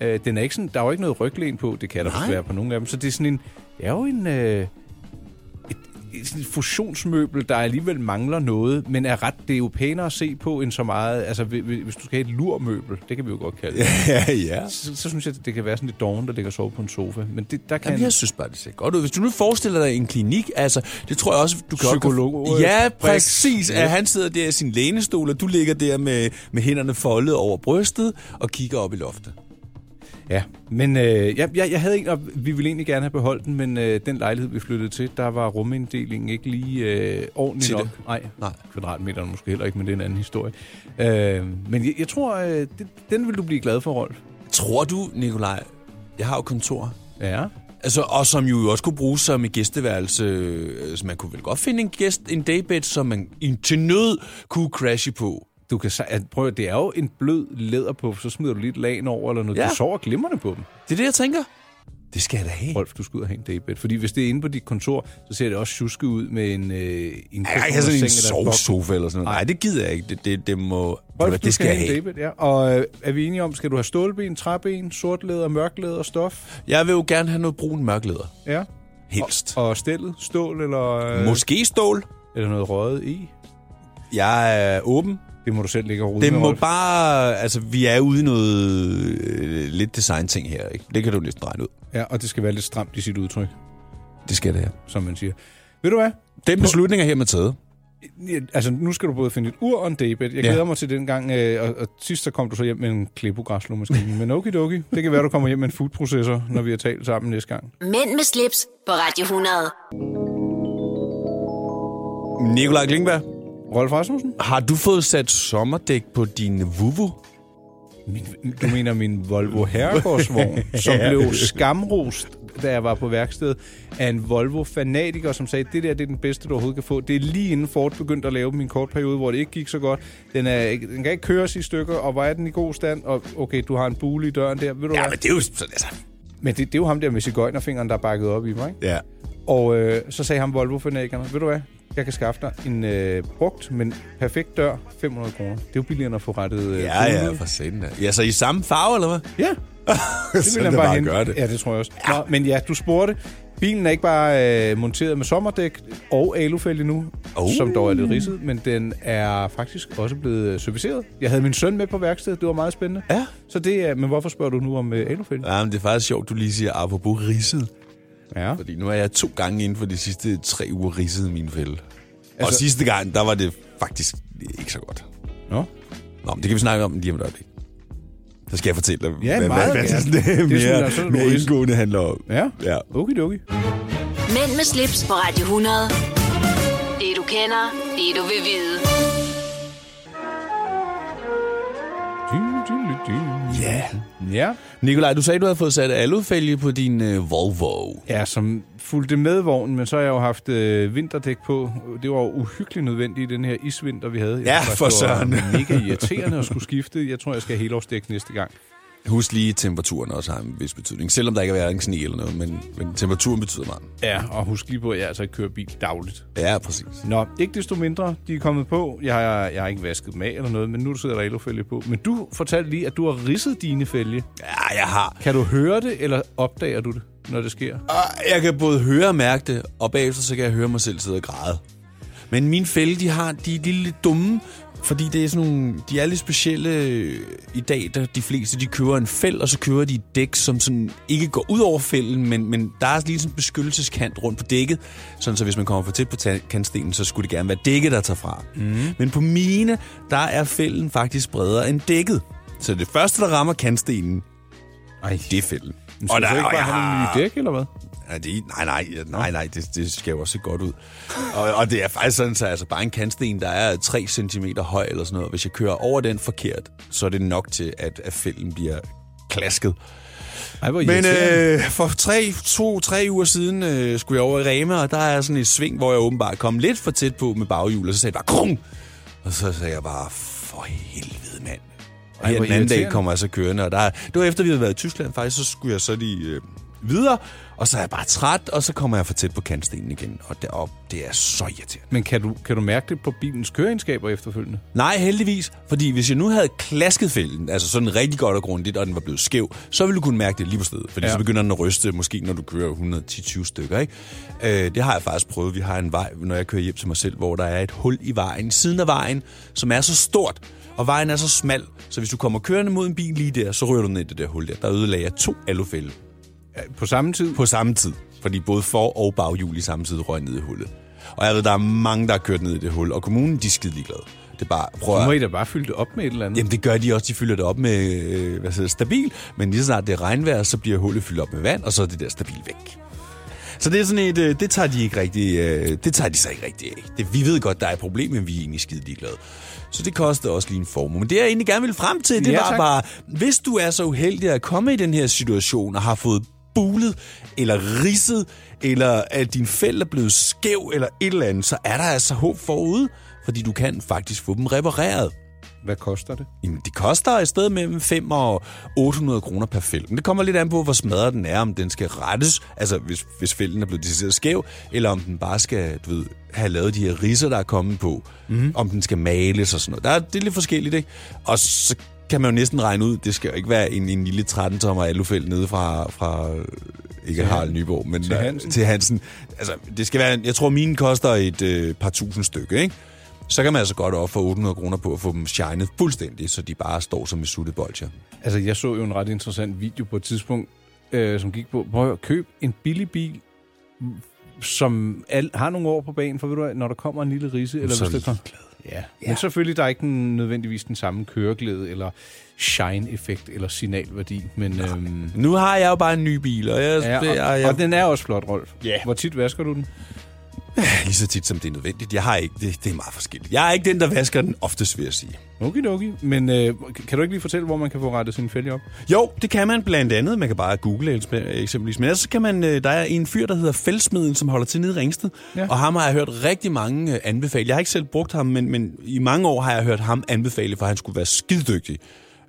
[SPEAKER 2] Øh, den er ikke sådan, der er jo ikke noget ryglæn på. Det kan der
[SPEAKER 3] Nej.
[SPEAKER 2] Nej. være på nogle af dem. Så det er sådan en... Det er jo en... Øh, et sådan et fusionsmøbel, der alligevel mangler noget, men er ret, det er jo pænere at se på end så meget. Altså, hvi- hvi- hvis du skal have et lurmøbel, det kan vi jo godt kalde det.
[SPEAKER 3] Ja, ja.
[SPEAKER 2] Så, så synes jeg, at det kan være sådan lidt doven, der ligger og sover på en sofa. Men det, der kan...
[SPEAKER 3] Jamen, jeg synes bare, det ser godt ud. Hvis du nu forestiller dig en klinik, altså, det tror jeg også, du kan...
[SPEAKER 2] Psykolog,
[SPEAKER 3] Godt,
[SPEAKER 2] øh,
[SPEAKER 3] ja,
[SPEAKER 2] Brix.
[SPEAKER 3] præcis. At han sidder der i sin lænestol, og du ligger der med, med hænderne foldet over brystet og kigger op i loftet.
[SPEAKER 2] Ja, men øh, jeg, jeg, jeg havde en, og vi ville egentlig gerne have beholdt den, men øh, den lejlighed, vi flyttede til, der var ruminddelingen ikke lige øh, ordentligt
[SPEAKER 3] Til det.
[SPEAKER 2] nok. Nej,
[SPEAKER 3] Nej.
[SPEAKER 2] kvadratmeterne måske heller ikke, men det er en anden historie. Øh, men jeg, jeg tror, øh, det, den vil du blive glad for, Rolf.
[SPEAKER 3] Tror du, Nikolaj, jeg har jo kontor,
[SPEAKER 2] Ja.
[SPEAKER 3] altså, og som jo også kunne bruges som et gæsteværelse. øh, Så man kunne vel godt finde en gæst, en daybed, som man i- til nød kunne crashe på.
[SPEAKER 2] Du kan, se- at- prøv at, det er jo en blød læderpuff, så smider du lidt lagen over, eller noget.
[SPEAKER 3] Ja.
[SPEAKER 2] Ja. Du sover glimrende på dem.
[SPEAKER 3] Det er det, jeg tænker. Det skal jeg da have.
[SPEAKER 2] Rolf, du skal ud og have en daybed. Fordi hvis det er inde på dit kontor, så ser det også tjuske ud med en... Øh, en
[SPEAKER 3] Jeg kan ikke have sådan en
[SPEAKER 2] personers seng, der er boks.
[SPEAKER 3] sovesofa eller sådan noget. Nej, det gider jeg ikke. Det, det, det må...
[SPEAKER 2] Rolf, du
[SPEAKER 3] det skal jeg
[SPEAKER 2] have
[SPEAKER 3] have.
[SPEAKER 2] en daybed, ja. Og øh, er vi enige om, skal du have stålben, træben, sortlæder, mørklæder og stof?
[SPEAKER 3] Jeg vil jo gerne have noget brun mørklæder.
[SPEAKER 2] Ja.
[SPEAKER 3] Helst.
[SPEAKER 2] Og stillet, stål eller... Øh,
[SPEAKER 3] Måske stål.
[SPEAKER 2] Eller noget røget i?
[SPEAKER 3] Jeg er åben.
[SPEAKER 2] Det må du selv ligge og rode
[SPEAKER 3] Det
[SPEAKER 2] med,
[SPEAKER 3] må
[SPEAKER 2] Rolf.
[SPEAKER 3] bare... Altså, vi er ude i noget øh, lidt design-ting her, ikke? Det kan du lidt regne ud.
[SPEAKER 2] Ja, og det skal være lidt stramt i sit udtryk,
[SPEAKER 3] Det skal det her.
[SPEAKER 2] som man siger. Ved du hvad?
[SPEAKER 3] Den beslutning er hermed taget.
[SPEAKER 2] Ja, Altså, nu skal du både finde et ur og en daybed. Jeg
[SPEAKER 3] Ja.
[SPEAKER 2] glæder mig til den gang, øh, og, og sidst så kom du så hjem med en klippogræslåmaskine. Men okidoki, det kan være, du kommer hjem med en foodprocessor, når vi har talt sammen næste gang.
[SPEAKER 1] Mænd med slips på Radio 100.
[SPEAKER 3] Nikolaj Klingberg,
[SPEAKER 2] Rolf Rasmussen?
[SPEAKER 3] har du fået sat sommerdæk på din vuvu?
[SPEAKER 2] Min, du mener min Volvo Herregårdsvogn, som
[SPEAKER 3] Ja.
[SPEAKER 2] blev skamrost, da jeg var på værksted, af en Volvo-fanatiker, som sagde, det der det er den bedste, du overhovedet kan få. Det er lige inden Ford begyndte at lave dem i en kort periode, hvor det ikke gik så godt. Den, er, ikke- den kan ikke køres i stykker, og hvor er den i god stand? Og okay, du har en bule i døren der, ved du
[SPEAKER 3] Ja,
[SPEAKER 2] hvad?
[SPEAKER 3] men det er jo sådan, altså...
[SPEAKER 2] Men det, det er jo ham der med cigøjnerfingeren, der er bakket op i mig, ikke?
[SPEAKER 3] Ja.
[SPEAKER 2] Og øh, så sagde ham volvo fanatikerne ved du hvad, jeg kan skaffe dig en øh, brugt, men perfekt dør, 500 kroner. Det er jo billigere end at få rettet øh,
[SPEAKER 3] Ja, ja,
[SPEAKER 2] gulvet.
[SPEAKER 3] for satan. da. Ja, så i samme farve, eller hvad?
[SPEAKER 2] ja. Det
[SPEAKER 3] Så
[SPEAKER 2] vil han
[SPEAKER 3] da
[SPEAKER 2] bare hente.
[SPEAKER 3] gøre det.
[SPEAKER 2] Ja, det tror jeg også. Ja. Nå, men ja, du spurgte. Bilen er ikke bare øh, monteret med sommerdæk og alufælge nu,
[SPEAKER 3] Oh.
[SPEAKER 2] oh. som dog er lidt ridset, men den er faktisk også blevet øh, serviceret. Jeg havde min søn med på værkstedet, det var meget spændende.
[SPEAKER 3] Ja.
[SPEAKER 2] Så det er, men hvorfor spørger du nu om øh, alufælge?
[SPEAKER 3] Ja, men det er faktisk sjovt, du lige siger apropos ridset.
[SPEAKER 2] Ja.
[SPEAKER 3] Fordi nu er jeg to gange inden for de sidste tre uger ridset i min fælde. Altså... Og sidste gang, der var det faktisk ikke så godt.
[SPEAKER 2] Nå.
[SPEAKER 3] Nå, men det kan vi snakke om lige om et øjeblik. Så skal jeg fortælle dig,
[SPEAKER 2] Ja,
[SPEAKER 3] hvad,
[SPEAKER 2] meget
[SPEAKER 3] hvad, hvad
[SPEAKER 2] gerne.
[SPEAKER 3] sådan, det,
[SPEAKER 2] Det synes
[SPEAKER 3] mere,
[SPEAKER 2] jeg, så er det
[SPEAKER 3] mere
[SPEAKER 2] ridset.
[SPEAKER 3] indgående handler om.
[SPEAKER 2] Ja.
[SPEAKER 3] ja.
[SPEAKER 2] Okidoki.
[SPEAKER 1] Mænd med slips på Radio 100. Det du kender, det du vil vide.
[SPEAKER 3] Ja.
[SPEAKER 2] Ja.
[SPEAKER 3] Nikolaj, du sagde, du havde fået sat alufælge på din øh, Volvo.
[SPEAKER 2] Ja, som fulgte med vognen, men så har jeg jo haft øh, vinterdæk på. Det var jo uhyggeligt nødvendigt i den her isvinter, vi havde. Jeg
[SPEAKER 3] Ja,
[SPEAKER 2] synes
[SPEAKER 3] for
[SPEAKER 2] faktisk, Det
[SPEAKER 3] søren.
[SPEAKER 2] var mega irriterende at skulle skifte. Jeg tror, jeg skal have helårsdæk næste gang.
[SPEAKER 3] Husk lige, at temperaturen også har en vis betydning. Selvom der ikke er en sne eller noget, men, men temperaturen betyder meget.
[SPEAKER 2] Ja, og husk lige på, at jeg altså ikke kører bil dagligt.
[SPEAKER 3] Ja, præcis.
[SPEAKER 2] Nå, ikke desto mindre, de er kommet på. Jeg har, jeg har ikke vasket dem af eller noget, men nu sidder der elofælge på. Men du fortalte lige, at du har ridset dine fælge.
[SPEAKER 3] Ja, jeg har.
[SPEAKER 2] Kan du høre det, eller opdager du det, når det sker?
[SPEAKER 3] Og Ah, Jeg kan både høre og mærke det, og bagefter så kan jeg høre mig selv sidde og græde. Men mine fælde, de har de er lille dumme Fordi det er sådan nogle, de er lidt specielle øh, i dag, der de fleste de kører en fæld, og så kører de et dæk, som sådan ikke går ud over fælden, men, men der er lige sådan en beskyttelseskant rundt på dækket, sådan så hvis man kommer for tæt på ta- kantstenen, så skulle det gerne være dækket, der tager fra. Mm. Men på mine, der er fælden faktisk bredere end dækket. Så det første, der rammer kantstenen, Ej. det er fælden.
[SPEAKER 2] Men skal vi så ikke bare have nogle nye dæk, eller hvad?
[SPEAKER 3] Ja, det, nej, nej, nej, nej, det, det skal jo også se godt ud. Og, og det er faktisk sådan, så altså, bare en kantsten, der er 3 cm høj eller sådan noget. Hvis jeg kører over den forkert, så er det nok til, at, at fælden bliver klasket.
[SPEAKER 2] Ej, hvor
[SPEAKER 3] Men
[SPEAKER 2] irriterende.
[SPEAKER 3] øh, for tre, to, tre uger siden øh, skulle jeg over i Rema, og der er sådan et sving, hvor jeg åbenbart kom lidt for tæt på med baghjul, og så sagde jeg bare, Krum! Og så sagde jeg bare, for helvede, mand. Og
[SPEAKER 2] Ej,
[SPEAKER 3] her
[SPEAKER 2] hvor
[SPEAKER 3] den anden dag
[SPEAKER 2] irriterende.
[SPEAKER 3] kommer jeg så kørende, og der, det var efter, vi havde været i Tyskland faktisk, så skulle jeg så lige øh, videre, og så er jeg bare træt, og så kommer jeg for tæt på kantstenen igen, og derop, det er så irriterende.
[SPEAKER 2] Men kan du, kan du mærke det på bilens køreegenskaber efterfølgende?
[SPEAKER 3] Nej, heldigvis, fordi hvis jeg nu havde klasket fælden, altså sådan rigtig godt og grundigt, og den var blevet skæv, så ville du kunne mærke det lige på stedet, fordi ja.
[SPEAKER 2] Ja.
[SPEAKER 3] så begynder den at ryste, måske når du kører 110-20 stykker, ikke? Øh, det har jeg faktisk prøvet. Vi har en vej, når jeg kører hjem til mig selv, hvor der er et hul i vejen, siden af vejen, som er så stort, og vejen er så smal, så hvis du kommer kørende mod en bil lige der, så ryger du ned i det der hul der. Der ødelagde jeg to alufælde.
[SPEAKER 2] På samme tid?
[SPEAKER 3] På samme tid. Fordi både for- og baghjul i samme tid røg ned i hullet. Og jeg ved, der er mange, der har kørt ned i det hul, og kommunen, de er skide ligeglade. Det er bare, prøv
[SPEAKER 2] Så må
[SPEAKER 3] at-
[SPEAKER 2] I da bare fylde det op med et eller andet.
[SPEAKER 3] Jamen det gør de også, de fylder det op med øh, hvad hedder, det, stabil, men lige så snart det er regnvejr, så bliver hullet fyldt op med vand, og så er det der stabil væk. Så det er sådan et, øh, det tager de ikke rigtig, øh, det tager de sig ikke rigtig af. Det, vi ved godt, der er et problem, men vi er egentlig skide ligeglade. Så det koster også lige en formue. Men det jeg egentlig gerne ville frem til, det
[SPEAKER 2] Ja,
[SPEAKER 3] var
[SPEAKER 2] tak.
[SPEAKER 3] bare, hvis du er så uheldig at komme i den her situation og har fået bulet, eller ridset, eller at din fæld er blevet skæv, eller et eller andet, så er der altså håb forude, fordi du kan faktisk få dem repareret.
[SPEAKER 2] Hvad koster det?
[SPEAKER 3] Jamen, det koster et sted mellem 5 og 800 kroner per fælden. Men det kommer lidt an på, hvor smadret den er, om den skal rettes, altså hvis, hvis fælden er blevet decideret skæv, eller om den bare skal, du ved, have lavet de her riser, der er kommet på,
[SPEAKER 2] Mhm.
[SPEAKER 3] mm-hmm. om den skal males og sådan noget. Der er, det er lidt forskelligt, ikke? Og så kan man jo næsten regne ud, det skal jo ikke være en, en lille 13-tommer alufæld nede fra, fra øh, ikke Harald Nyborg, men øh,
[SPEAKER 2] til Hansen.
[SPEAKER 3] til Hansen. Altså, det skal være, jeg tror, mine koster et øh, par tusind stykke, ikke? Så kan man altså godt ofre 800 kroner på at få dem shined fuldstændig, så de bare står som et suttet bolcher.
[SPEAKER 2] Altså, jeg så jo en ret interessant video på et tidspunkt, øh, som gik på, prøv at købe en billig bil, som al, har nogle år på banen, for ved du hvad, når der kommer en lille rise, eller
[SPEAKER 3] så
[SPEAKER 2] hvis der kommer... Ja. ja, men selvfølgelig, der er ikke den, nødvendigvis den samme køreglæde, eller shine-effekt, eller signalværdi, men... Øhm,
[SPEAKER 3] Nu har jeg jo bare en ny bil, og jeg...
[SPEAKER 2] ja, og,
[SPEAKER 3] jeg, jeg
[SPEAKER 2] og den er også flot, Rolf.
[SPEAKER 3] Ja.
[SPEAKER 2] Hvor tit vasker du den?
[SPEAKER 3] lige så tit, som det er nødvendigt. Jeg har ikke... Det, det er meget forskelligt. Jeg er ikke den, der vasker den oftest, vil jeg sige.
[SPEAKER 2] Okidoki. Men øh, kan du ikke lige fortælle, hvor man kan få rettet sin fælge op?
[SPEAKER 3] Jo, det kan man blandt andet. Man kan bare google eksp- eksempelvis. Men ellers så kan man, øh, der er en fyr, der hedder Fældsmeden, som holder til nede i Ringsted. Ja.
[SPEAKER 2] Ja.
[SPEAKER 3] Og ham har jeg hørt rigtig mange øh, anbefale. Jeg har ikke selv brugt ham, men, men i mange år har jeg hørt ham anbefale, for han skulle være skiddygtig.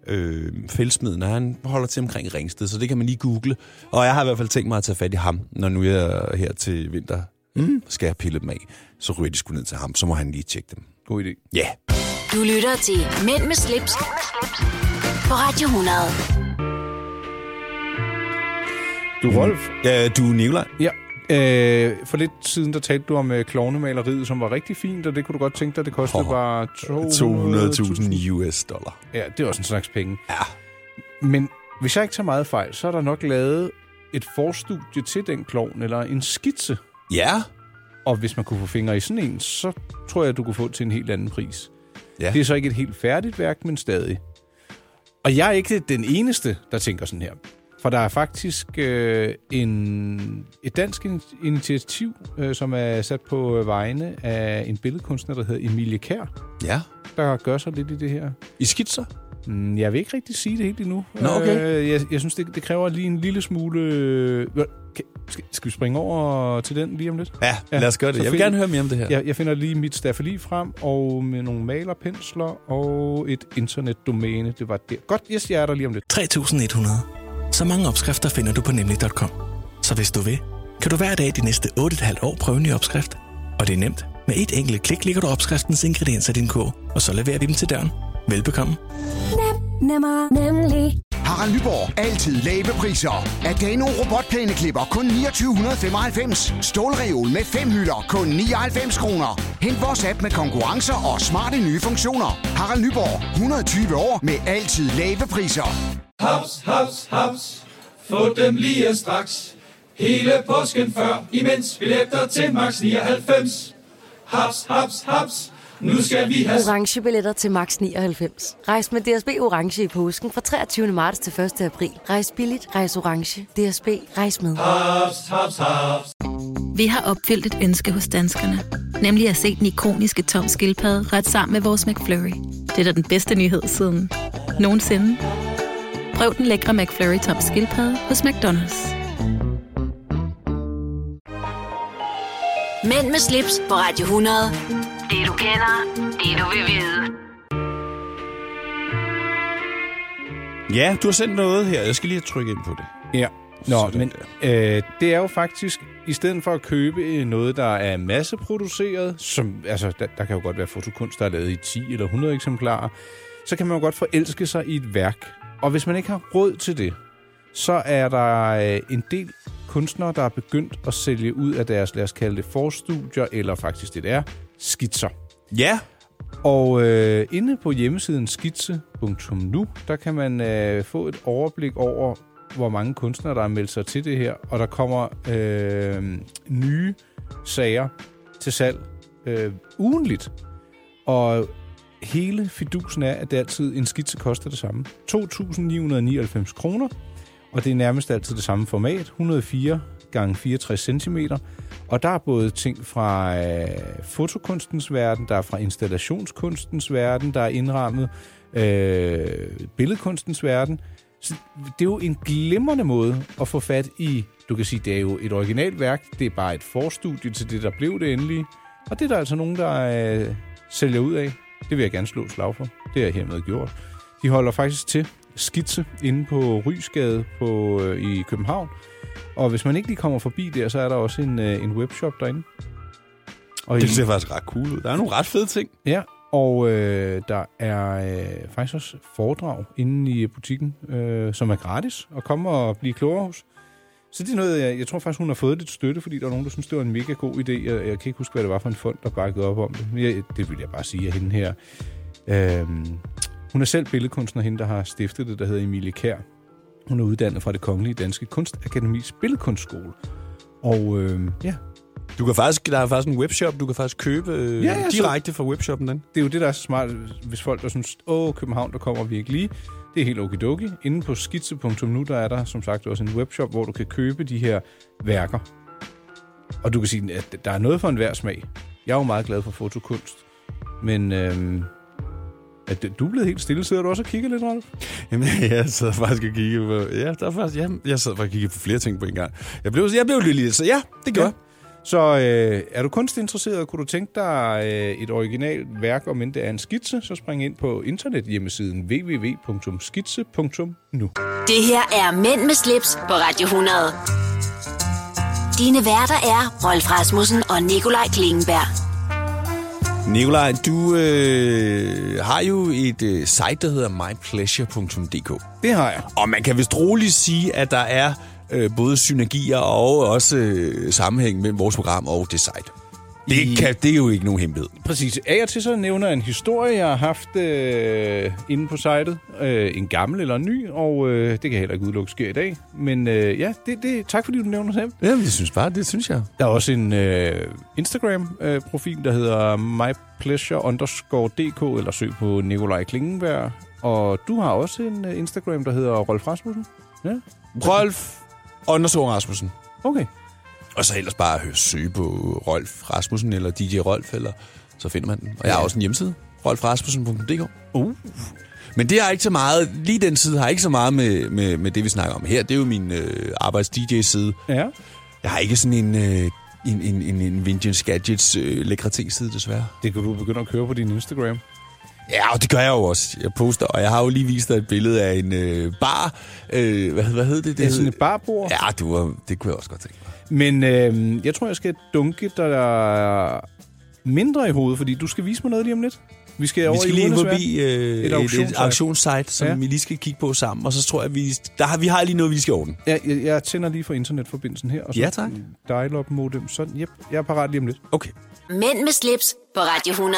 [SPEAKER 3] Øh, Fældsmeden, og han holder til omkring Ringsted, så det kan man lige google. Og jeg har i hvert fald tænkt mig at tage fat i ham, når nu jeg er her til vinter. Mm. Skal jeg pille dem af, så ryger de sgu ned til ham. Så må han lige tjekke dem.
[SPEAKER 2] God idé.
[SPEAKER 3] Ja. Yeah.
[SPEAKER 1] Du lytter til Mænd med slips, på Radio 100.
[SPEAKER 2] Du, Rolf,
[SPEAKER 3] Ja, du er Nikolaj.
[SPEAKER 2] Ja. Øh, for lidt siden, der talte du om øh, klovnemaleriet, som var rigtig fint, og det kunne du godt tænke dig, det kostede
[SPEAKER 3] Åh,
[SPEAKER 2] oh, bare 200.000.
[SPEAKER 3] 200.000 US dollar.
[SPEAKER 2] Ja, det er også en slags penge.
[SPEAKER 3] Ja.
[SPEAKER 2] Men hvis jeg ikke tager meget fejl, så er der nok lavet et forstudie til den klovn, eller en skitse.
[SPEAKER 3] Ja.
[SPEAKER 2] Og hvis man kunne få fingre i sådan en, så tror jeg, du kunne få til en helt anden pris.
[SPEAKER 3] Ja.
[SPEAKER 2] Det er så ikke et helt færdigt værk, men stadig. Og jeg er ikke den eneste, der tænker sådan her. For der er faktisk øh, en, et dansk in- initiativ, øh, som er sat på øh, vegne af en billedkunstner, der hedder Emilie Kær,
[SPEAKER 3] Ja.
[SPEAKER 2] der gør sig lidt i det her.
[SPEAKER 3] I skitser?
[SPEAKER 2] Mm, Jeg vil ikke rigtig sige det helt endnu.
[SPEAKER 3] Nå, okay.
[SPEAKER 2] Øh, jeg, jeg synes, det, det kræver lige en lille smule... Øh, hvad- kan, skal, skal vi springe over til den lige om lidt?
[SPEAKER 3] Ja,
[SPEAKER 2] Ja,
[SPEAKER 3] lad os gøre det.
[SPEAKER 2] så
[SPEAKER 3] Jeg vil
[SPEAKER 2] find-
[SPEAKER 3] gerne høre mere om det her.
[SPEAKER 2] Jeg, jeg finder lige mit staffeli frem, og med nogle malerpensler og et internetdomæne. Det var der. Godt, yes, jeg er der lige om lidt.
[SPEAKER 7] 3100. Så mange opskrifter finder du på nemlig.com. Så hvis du vil, kan du hver dag de næste 8,5 år prøve en ny opskrift. Og det er nemt. Med et enkelt klik ligger du opskriftens ingredienser i din kog, og så leverer vi dem til døren. Velbekomme.
[SPEAKER 8] Nem, nemmer, nemlig. Harald Nyborg. Altid lave priser. Adano robotplæneklipper kun 2995. Stålreol med fem hylder kun 99 kroner. Hent vores app med konkurrencer og smarte nye funktioner. Harald Nyborg. 120 år med altid lave priser.
[SPEAKER 9] Haps, haps, haps. Få dem lige straks. Hele påsken før, imens billetter til max 99. Haps, haps, haps. Nu skal vi have...
[SPEAKER 10] orange billetter til max 99. Rejs med DSB orange i påsken fra 23. marts til 1. april. Rejs billigt, rejs orange. DSB rejs med.
[SPEAKER 9] Haps, haps, haps.
[SPEAKER 11] Vi har opfyldt et ønske hos danskerne. Nemlig at se den ikoniske tom skildpadde ret sammen med vores McFlurry. Det er da den bedste nyhed siden nogensinde. Prøv den lækre McFlurry tom skildpadde hos McDonald's.
[SPEAKER 1] Mænd med slips på Radio 100. Det du kender, det du vil vide.
[SPEAKER 3] Ja, du har sendt noget her. Jeg skal lige trykke ind på det.
[SPEAKER 2] Ja. Nå, men øh, det er jo faktisk, i stedet for at købe øh, noget, der er masseproduceret, som, altså, der, der kan jo godt være fotokunst, der er lavet i 10 eller 100 eksemplarer, så kan man jo godt forelske sig i et værk. Og hvis man ikke har råd til det, så er der øh, en del kunstnere, der er begyndt at sælge ud af deres, lad os kalde det, forstudier, eller faktisk det der, skitser.
[SPEAKER 3] Ja.
[SPEAKER 2] Og øh, inde på hjemmesiden skitse.nu, der kan man øh, få et overblik over, hvor mange kunstnere, der har meldt sig til det her, og der kommer øh, nye sager til salg øh, ugenligt. Og hele fidusen er, at det altid en skitse koster det samme. 2.999 kroner, og det er nærmest altid det samme format, 104 gange 64 cm. Og der er både ting fra øh, fotokunstens verden, der er fra installationskunstens verden, der er indrammet øh, billedkunstens verden. Så det er jo en glimrende måde at få fat i, du kan sige, det er jo et originalt værk, det er bare et forstudie til det, der blev det endelige. Og det er der altså nogen, der øh, sælger ud af. Det vil jeg gerne slå et slag for. Det er hermed gjort. De holder faktisk til skitse inde på Rysgade på, øh, i København. Og hvis man ikke lige kommer forbi der, så er der også en, øh, en webshop derinde. Og
[SPEAKER 3] Det ser faktisk ret cool ud. Der er nogle ret fede ting.
[SPEAKER 2] Ja, og øh, der er øh, faktisk også foredrag inde i butikken, øh, som er gratis at komme og blive klogere hos. Så det er noget, jeg, jeg tror faktisk, hun har fået lidt støtte, fordi der er nogen, der synes, det var en mega god idé. Jeg, jeg kan ikke huske, hvad det var for en fond, der bakkede op om det. Men jeg, det vil jeg bare sige af hende her. Øh, hun er selv billedkunstner, hende, der har stiftet det, der hedder Emilie Kær. Hun er uddannet fra det Kongelige Danske Kunstakademis Billedkunstskole. Og øh, ja,
[SPEAKER 3] Du kan faktisk, der er faktisk en webshop, du kan faktisk købe øh, ja, ja, direkte. fra webshoppen den.
[SPEAKER 2] Det er jo det, der er så smart, hvis folk der synes, åh, København, der kommer vi ikke lige. Det er helt okidoki. Inde på skitse.nu, der er der som sagt også en webshop, hvor du kan købe de her værker. Og du kan sige, at der er noget for enhver smag. Jeg er jo meget glad for fotokunst. Men øhm, at du er blevet helt stille. Sidder du også og kigger lidt, Rolf?
[SPEAKER 3] Jamen, jeg sad faktisk og kiggede på... Ja, der er faktisk, ja, jeg sad faktisk og kiggede på flere ting på en gang. Jeg blev, jeg blev lidt lille, så ja, det gjorde ja.
[SPEAKER 2] Så øh, er du kunstinteresseret, kunne du tænke dig øh, et originalt værk, om end det er en skitse, så spring ind på internethjemmesiden www.skitse.nu.
[SPEAKER 1] Det her er Mænd med slips på Radio 100. Dine værter er Rolf Rasmussen og Nikolaj Klingenberg.
[SPEAKER 3] Nikolaj, du øh, har jo et øh, site, der hedder mypleasure.dk.
[SPEAKER 2] Det har jeg.
[SPEAKER 3] Og man kan vist roligt sige, at der er øh, både synergier og også øh, sammenhæng mellem vores program og det site. Det, I... kan, det er jo ikke nogen hemmelighed.
[SPEAKER 2] Præcis. Af og til så nævner jeg en historie, jeg har haft øh, inde på sitet. Øh, en gammel eller en ny, og øh, det kan jeg heller ikke udelukke sker i dag. Men øh, ja, det, det, tak fordi du nævner det.
[SPEAKER 3] Ja, jeg synes bare, det synes jeg.
[SPEAKER 2] Der er også en øh, Instagram-profil, øh, der hedder mypleasure underscore dk, eller søg på Nikolaj Klingenberg. Og du har også en øh, Instagram, der hedder Rolf Rasmussen. Ja.
[SPEAKER 3] Rolf Undersøger Rasmussen.
[SPEAKER 2] Okay.
[SPEAKER 3] Og så ellers bare høre, søge på Rolf Rasmussen eller DJ Rolf, eller så finder man den. Og jeg har også en hjemmeside, rolfrasmussen.dk.
[SPEAKER 2] Uh.
[SPEAKER 3] Men det har ikke så meget, lige den side har ikke så meget med, med, med det, vi snakker om her. Det er jo min øh, arbejds-DJ-side.
[SPEAKER 2] Ja.
[SPEAKER 3] Jeg har ikke sådan en, øh, en, en, en, en Vintage Gadgets øh, lækre-ting-side, desværre.
[SPEAKER 2] Det kan du begynde at køre på din Instagram.
[SPEAKER 3] Ja, og det gør jeg jo også. Jeg poster, og jeg har jo lige vist dig et billede af en øh, bar. Øh, hvad, hvad hed det?
[SPEAKER 2] Det er sådan
[SPEAKER 3] hed-
[SPEAKER 2] et barbord.
[SPEAKER 3] Ja, det, var, det kunne jeg også godt tænke mig.
[SPEAKER 2] Men øh, jeg tror, jeg skal dunke dig mindre i hovedet, fordi du skal vise mig noget lige om lidt. Vi skal,
[SPEAKER 3] Vi
[SPEAKER 2] over
[SPEAKER 3] skal
[SPEAKER 2] i
[SPEAKER 3] lige ind
[SPEAKER 2] Urnes
[SPEAKER 3] forbi
[SPEAKER 2] verden.
[SPEAKER 3] øh, et, auktionssite. et auktionssite, som ja. vi lige skal kigge på sammen, og så tror jeg, vi, der har, vi har lige noget, vi skal ordne.
[SPEAKER 2] Ja, jeg, jeg tænder lige for internetforbindelsen her. Og så
[SPEAKER 3] Ja, tak.
[SPEAKER 2] Dial-up modem. Sådan, yep, jeg er parat lige om lidt.
[SPEAKER 3] Okay.
[SPEAKER 1] Mænd med slips på Radio 100.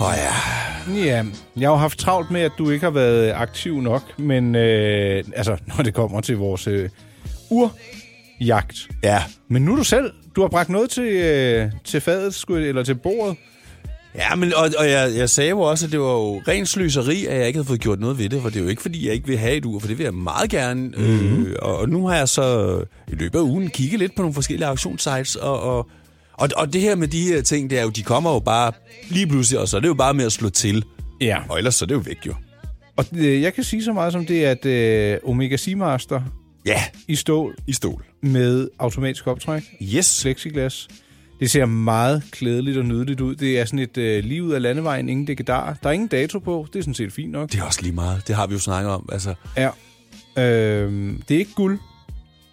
[SPEAKER 3] Åh oh, ja.
[SPEAKER 2] Ja, jeg har jo haft travlt med, at du ikke har været aktiv nok, men øh, altså, når det kommer til vores øh, urjagt.
[SPEAKER 3] Ja.
[SPEAKER 2] Men nu er du selv. Du har bragt noget til, øh, til fadet, skulle, jeg- eller til bordet.
[SPEAKER 3] Ja, men, og, og jeg, jeg sagde jo også, at det var jo ren sløseri, at jeg ikke havde fået gjort noget ved det, for det er jo ikke, fordi jeg ikke vil have et ur, for det vil jeg meget gerne. Mm. Øh, og, og nu har jeg så i løbet af ugen kigget lidt på nogle forskellige auktionssites, og, og, og, og det her med de her ting, det er jo, de kommer jo bare lige pludselig, og så er det jo bare med at slå til.
[SPEAKER 2] Ja.
[SPEAKER 3] Og ellers så er det jo væk jo.
[SPEAKER 2] Og øh, jeg kan sige så meget som det, at øh, Omega Seamaster
[SPEAKER 3] ja.
[SPEAKER 2] i stål.
[SPEAKER 3] I stål.
[SPEAKER 2] Med automatisk optræk.
[SPEAKER 3] Yes.
[SPEAKER 2] Plexiglas. Det ser meget klædeligt og nydeligt ud. Det er sådan et øh, lige ud af landevejen, ingen dekadar. Der er ingen dato på. Det er sådan set fint nok.
[SPEAKER 3] Det er også lige meget. Det har vi jo snakket om. Altså,
[SPEAKER 2] Ja. Øhm, det er ikke guld.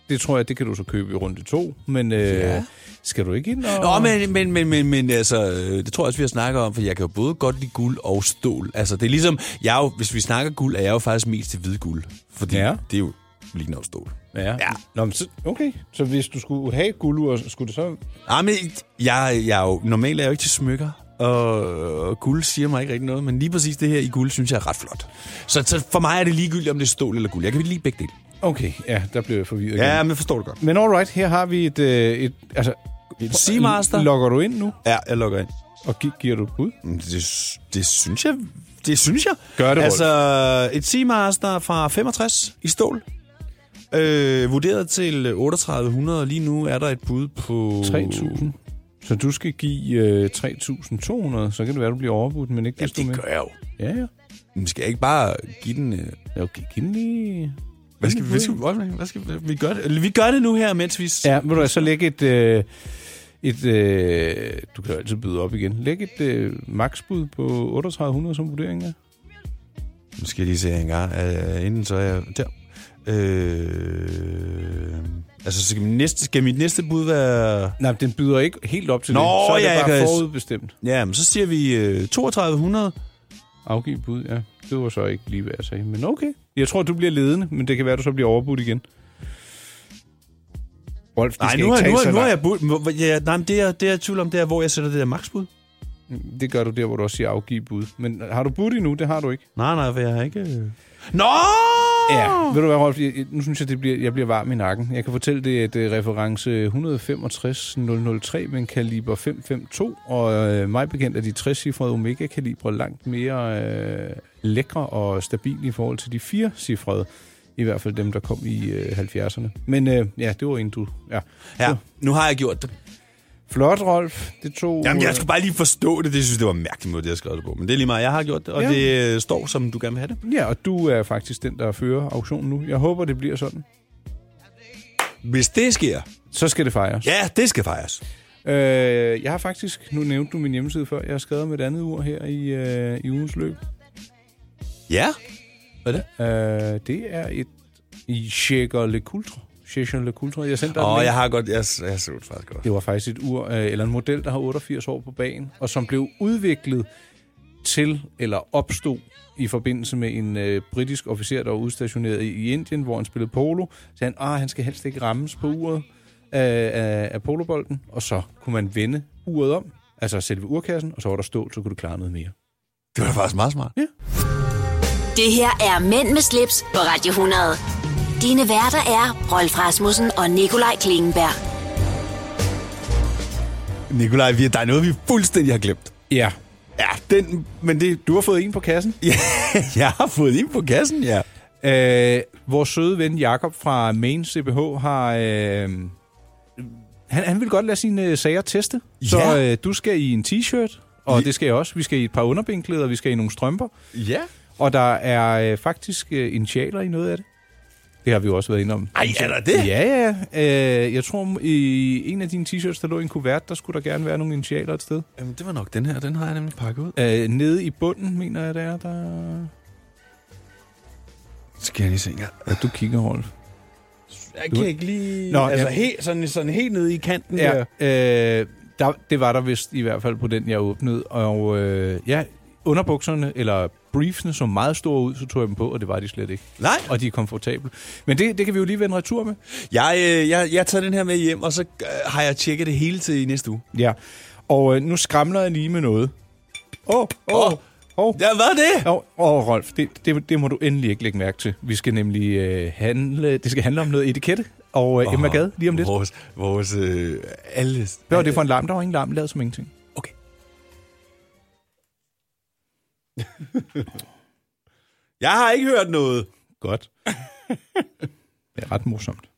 [SPEAKER 2] Det tror jeg, det kan du så købe i runde to. Men øh, ja.
[SPEAKER 3] Ja.
[SPEAKER 2] skal du ikke ind og...
[SPEAKER 3] Nå, men, men, men, men, men altså, øh, det tror jeg også, vi har snakket om, for jeg kan jo både godt lide guld og stål. Altså, det er ligesom, jeg er jo, hvis vi snakker guld, er jeg jo faktisk mest til hvid guld. Fordi
[SPEAKER 2] Ja.
[SPEAKER 3] ja. det er jo lige noget stål.
[SPEAKER 2] Ja. ja. Nå, men så, okay, så hvis du skulle have et guldur, skulle det så...
[SPEAKER 3] Ej, men jeg, jeg er jo, normalt er jeg jo ikke til smykker, og, og guld siger mig ikke rigtig noget, men lige præcis det her i guld, synes jeg er ret flot. Så, så for mig er det ligegyldigt, om det er stål eller guld. Jeg kan lide begge dele.
[SPEAKER 2] Okay, ja, der blev jeg forvirret
[SPEAKER 3] Ja,
[SPEAKER 2] igen.
[SPEAKER 3] men jeg forstår det godt.
[SPEAKER 2] Men alright, her har vi et... øh, et altså, et
[SPEAKER 3] Seamaster.
[SPEAKER 2] Logger du ind nu?
[SPEAKER 3] Ja, jeg logger ind.
[SPEAKER 2] Og gi- giver du et bud?
[SPEAKER 3] Det, det synes jeg. Det synes jeg.
[SPEAKER 2] Gør det,
[SPEAKER 3] Altså, et Seamaster fra 65 i stål. Øh, vurderet til 3800, og lige nu er der et bud på...
[SPEAKER 2] 3.000. Mm. Så du skal give øh, 3.200, så kan det være, du bliver overbudt, men ikke desto
[SPEAKER 3] det
[SPEAKER 2] mere.
[SPEAKER 3] gør jeg jo.
[SPEAKER 2] Ja, ja.
[SPEAKER 3] Men skal jeg ikke bare give den... Øh...
[SPEAKER 2] Okay, giv den lige...
[SPEAKER 3] Hvad skal, vi- hvad skal, hvad skal, hvad skal vi gøre det? Vi gør det nu her, mens vi...
[SPEAKER 2] Ja, vil du hvad, så lægge et... Øh, et øh, du kan jo altid byde op igen. Læg et øh, maksbud på 3800 som vurdering er.
[SPEAKER 3] Nu skal jeg lige se her en gang. Øh, inden så er jeg der. Øh, altså, skal mit, næste, skal mit næste bud være...
[SPEAKER 2] Nej, men den byder ikke helt op til
[SPEAKER 3] Nå,
[SPEAKER 2] det. Så er
[SPEAKER 3] ja,
[SPEAKER 2] det
[SPEAKER 3] jeg
[SPEAKER 2] bare
[SPEAKER 3] kan-
[SPEAKER 2] forudbestemt.
[SPEAKER 3] Ja, men så siger vi øh, 3200.
[SPEAKER 2] Afgiv bud, ja. Det var så ikke lige, hvad jeg sagde. Men okay. Jeg tror, du bliver ledende, men det kan være, du så bliver overbudt igen. Rolf, det
[SPEAKER 3] Nej,
[SPEAKER 2] skal
[SPEAKER 3] nu
[SPEAKER 2] ikke
[SPEAKER 3] har,
[SPEAKER 2] tage
[SPEAKER 3] nu,
[SPEAKER 2] så
[SPEAKER 3] har, nu har
[SPEAKER 2] langt.
[SPEAKER 3] jeg bud. hvor- Ja, nej, men det, er, det er jeg i tvivl om, det er, hvor jeg sætter det der maksbud.
[SPEAKER 2] Det gør du der, hvor du også siger afgiv bud. Men har du budt endnu? Det har du ikke.
[SPEAKER 3] Nej, nej, for jeg har ikke... øh. Nå!
[SPEAKER 2] Ja, ved du hvad, Rolf? Jeg, jeg- nu synes jeg, det bliver, jeg bliver varm i nakken. Jeg kan fortælle det, at øh, reference 165-003 med en kaliber 552, og øh, mig bekendt er de 60-cifrede Omega-kalibre langt mere øh, lækre og stabile i forhold til de 4-cifrede. I hvert fald dem, der kom i øh, 70'erne. Men øh, ja, det var en du... Ja.
[SPEAKER 3] Ja, nu har jeg gjort det.
[SPEAKER 2] Flot, Rolf. Det tog...
[SPEAKER 3] Jamen, jeg
[SPEAKER 2] øh,
[SPEAKER 3] skulle bare lige forstå det. Det synes det var mærkeligt måde, det jeg skrev det på. Men det er lige meget, jeg har gjort det, og
[SPEAKER 2] Ja.
[SPEAKER 3] ja. det øh, står, som du gerne vil have det.
[SPEAKER 2] Ja, og du er faktisk den, der fører auktionen nu. Jeg håber, det bliver sådan.
[SPEAKER 3] Hvis det sker,
[SPEAKER 2] Så skal det fejres.
[SPEAKER 3] ja, det skal fejres.
[SPEAKER 2] Øh, jeg har faktisk, nu nævnte du min hjemmeside før, jeg har skrevet med et andet ur her i, øh, i ugens løb.
[SPEAKER 3] Ja? Hvad er det?
[SPEAKER 2] Øh, det er et i Shaker Le Coultre. Shaker Le Coultre. Jeg sendte dig
[SPEAKER 3] Åh,
[SPEAKER 2] den
[SPEAKER 3] oh,
[SPEAKER 2] link.
[SPEAKER 3] jeg har godt... Jeg, jeg så det faktisk godt.
[SPEAKER 2] Det var faktisk et ur, øh, eller en model, der har 88 år på banen, og som blev udviklet til eller opstod i forbindelse med en øh, britisk officer, der var udstationeret i, i Indien, hvor han spillede polo. Så han, ah, han skal helst ikke rammes på uret af, af, af polobolden, og så kunne man vende uret om, altså selve urkassen, og så var der stål, så kunne du klare noget mere.
[SPEAKER 3] Det var da faktisk meget smart.
[SPEAKER 2] Ja.
[SPEAKER 1] Det her er Mænd med slips på Radio 100. Dine værter er Rolf Rasmussen og Nikolaj Klingenberg.
[SPEAKER 3] Nikolaj, vi, der er noget, vi fuldstændig har glemt.
[SPEAKER 2] Ja,
[SPEAKER 3] Ja, den... Men det...
[SPEAKER 2] du har fået en på kassen.
[SPEAKER 3] Ja, jeg har fået ind på kassen, ja.
[SPEAKER 2] Øh, vores søde ven Jakob fra Main CBH har... Øh, han, han vil godt lade sine øh, sager teste. Så
[SPEAKER 3] Ja.
[SPEAKER 2] øh, du skal i en t-shirt, og
[SPEAKER 3] Ja.
[SPEAKER 2] det skal jeg også. Vi skal i et par underbenklæder, vi skal i nogle strømper.
[SPEAKER 3] Ja.
[SPEAKER 2] Og der er øh, faktisk øh, initialer i noget af det. Det har vi jo også været inde om.
[SPEAKER 3] Ej, er der det?
[SPEAKER 2] Ja, ja. Øh, jeg tror, i en af dine t-shirts, der lå i en kuvert, der skulle der gerne være nogle initialer et sted.
[SPEAKER 3] Jamen, det var nok den her. Den har jeg nemlig pakket ud.
[SPEAKER 2] Øh, nede i bunden, mener jeg, det er, der...
[SPEAKER 3] Skal jeg lige se en gang.
[SPEAKER 2] Ja, du kigger, Rolf.
[SPEAKER 3] Jeg
[SPEAKER 2] Du-
[SPEAKER 3] kan ikke lige...
[SPEAKER 2] Nå,
[SPEAKER 3] Nå, altså,
[SPEAKER 2] ja.
[SPEAKER 3] helt, sådan, sådan helt nede i kanten ja.
[SPEAKER 2] Ja,
[SPEAKER 3] der.
[SPEAKER 2] øh, Der, det var der vist i hvert fald på den, jeg åbnede. Og øh, ja, underbukserne, eller briefsene, så meget store ud, så tog jeg dem på, og det var de slet ikke.
[SPEAKER 3] Nej.
[SPEAKER 2] Og de er komfortable. Men det, det kan vi jo lige vende retur med.
[SPEAKER 3] Jeg, øh, jeg, jeg tager den her med hjem, og så øh, har jeg tjekket det hele til i næste uge.
[SPEAKER 2] Ja, og øh, nu skramler jeg lige med noget. Åh, oh, åh, oh, oh.
[SPEAKER 3] Ja, hvad er det?
[SPEAKER 2] Åh, oh, oh, Rolf, det, det, det må du endelig ikke lægge mærke til. Vi skal nemlig øh, handle, det skal handle om noget etikette, og øh, Emma Gade lige om lidt.
[SPEAKER 3] Vores, vores øh, alle...
[SPEAKER 2] Hvad var det for en larm? Der var ingen larm, lavet som ingenting.
[SPEAKER 3] Jeg har ikke hørt noget.
[SPEAKER 2] Godt. Det er ret morsomt.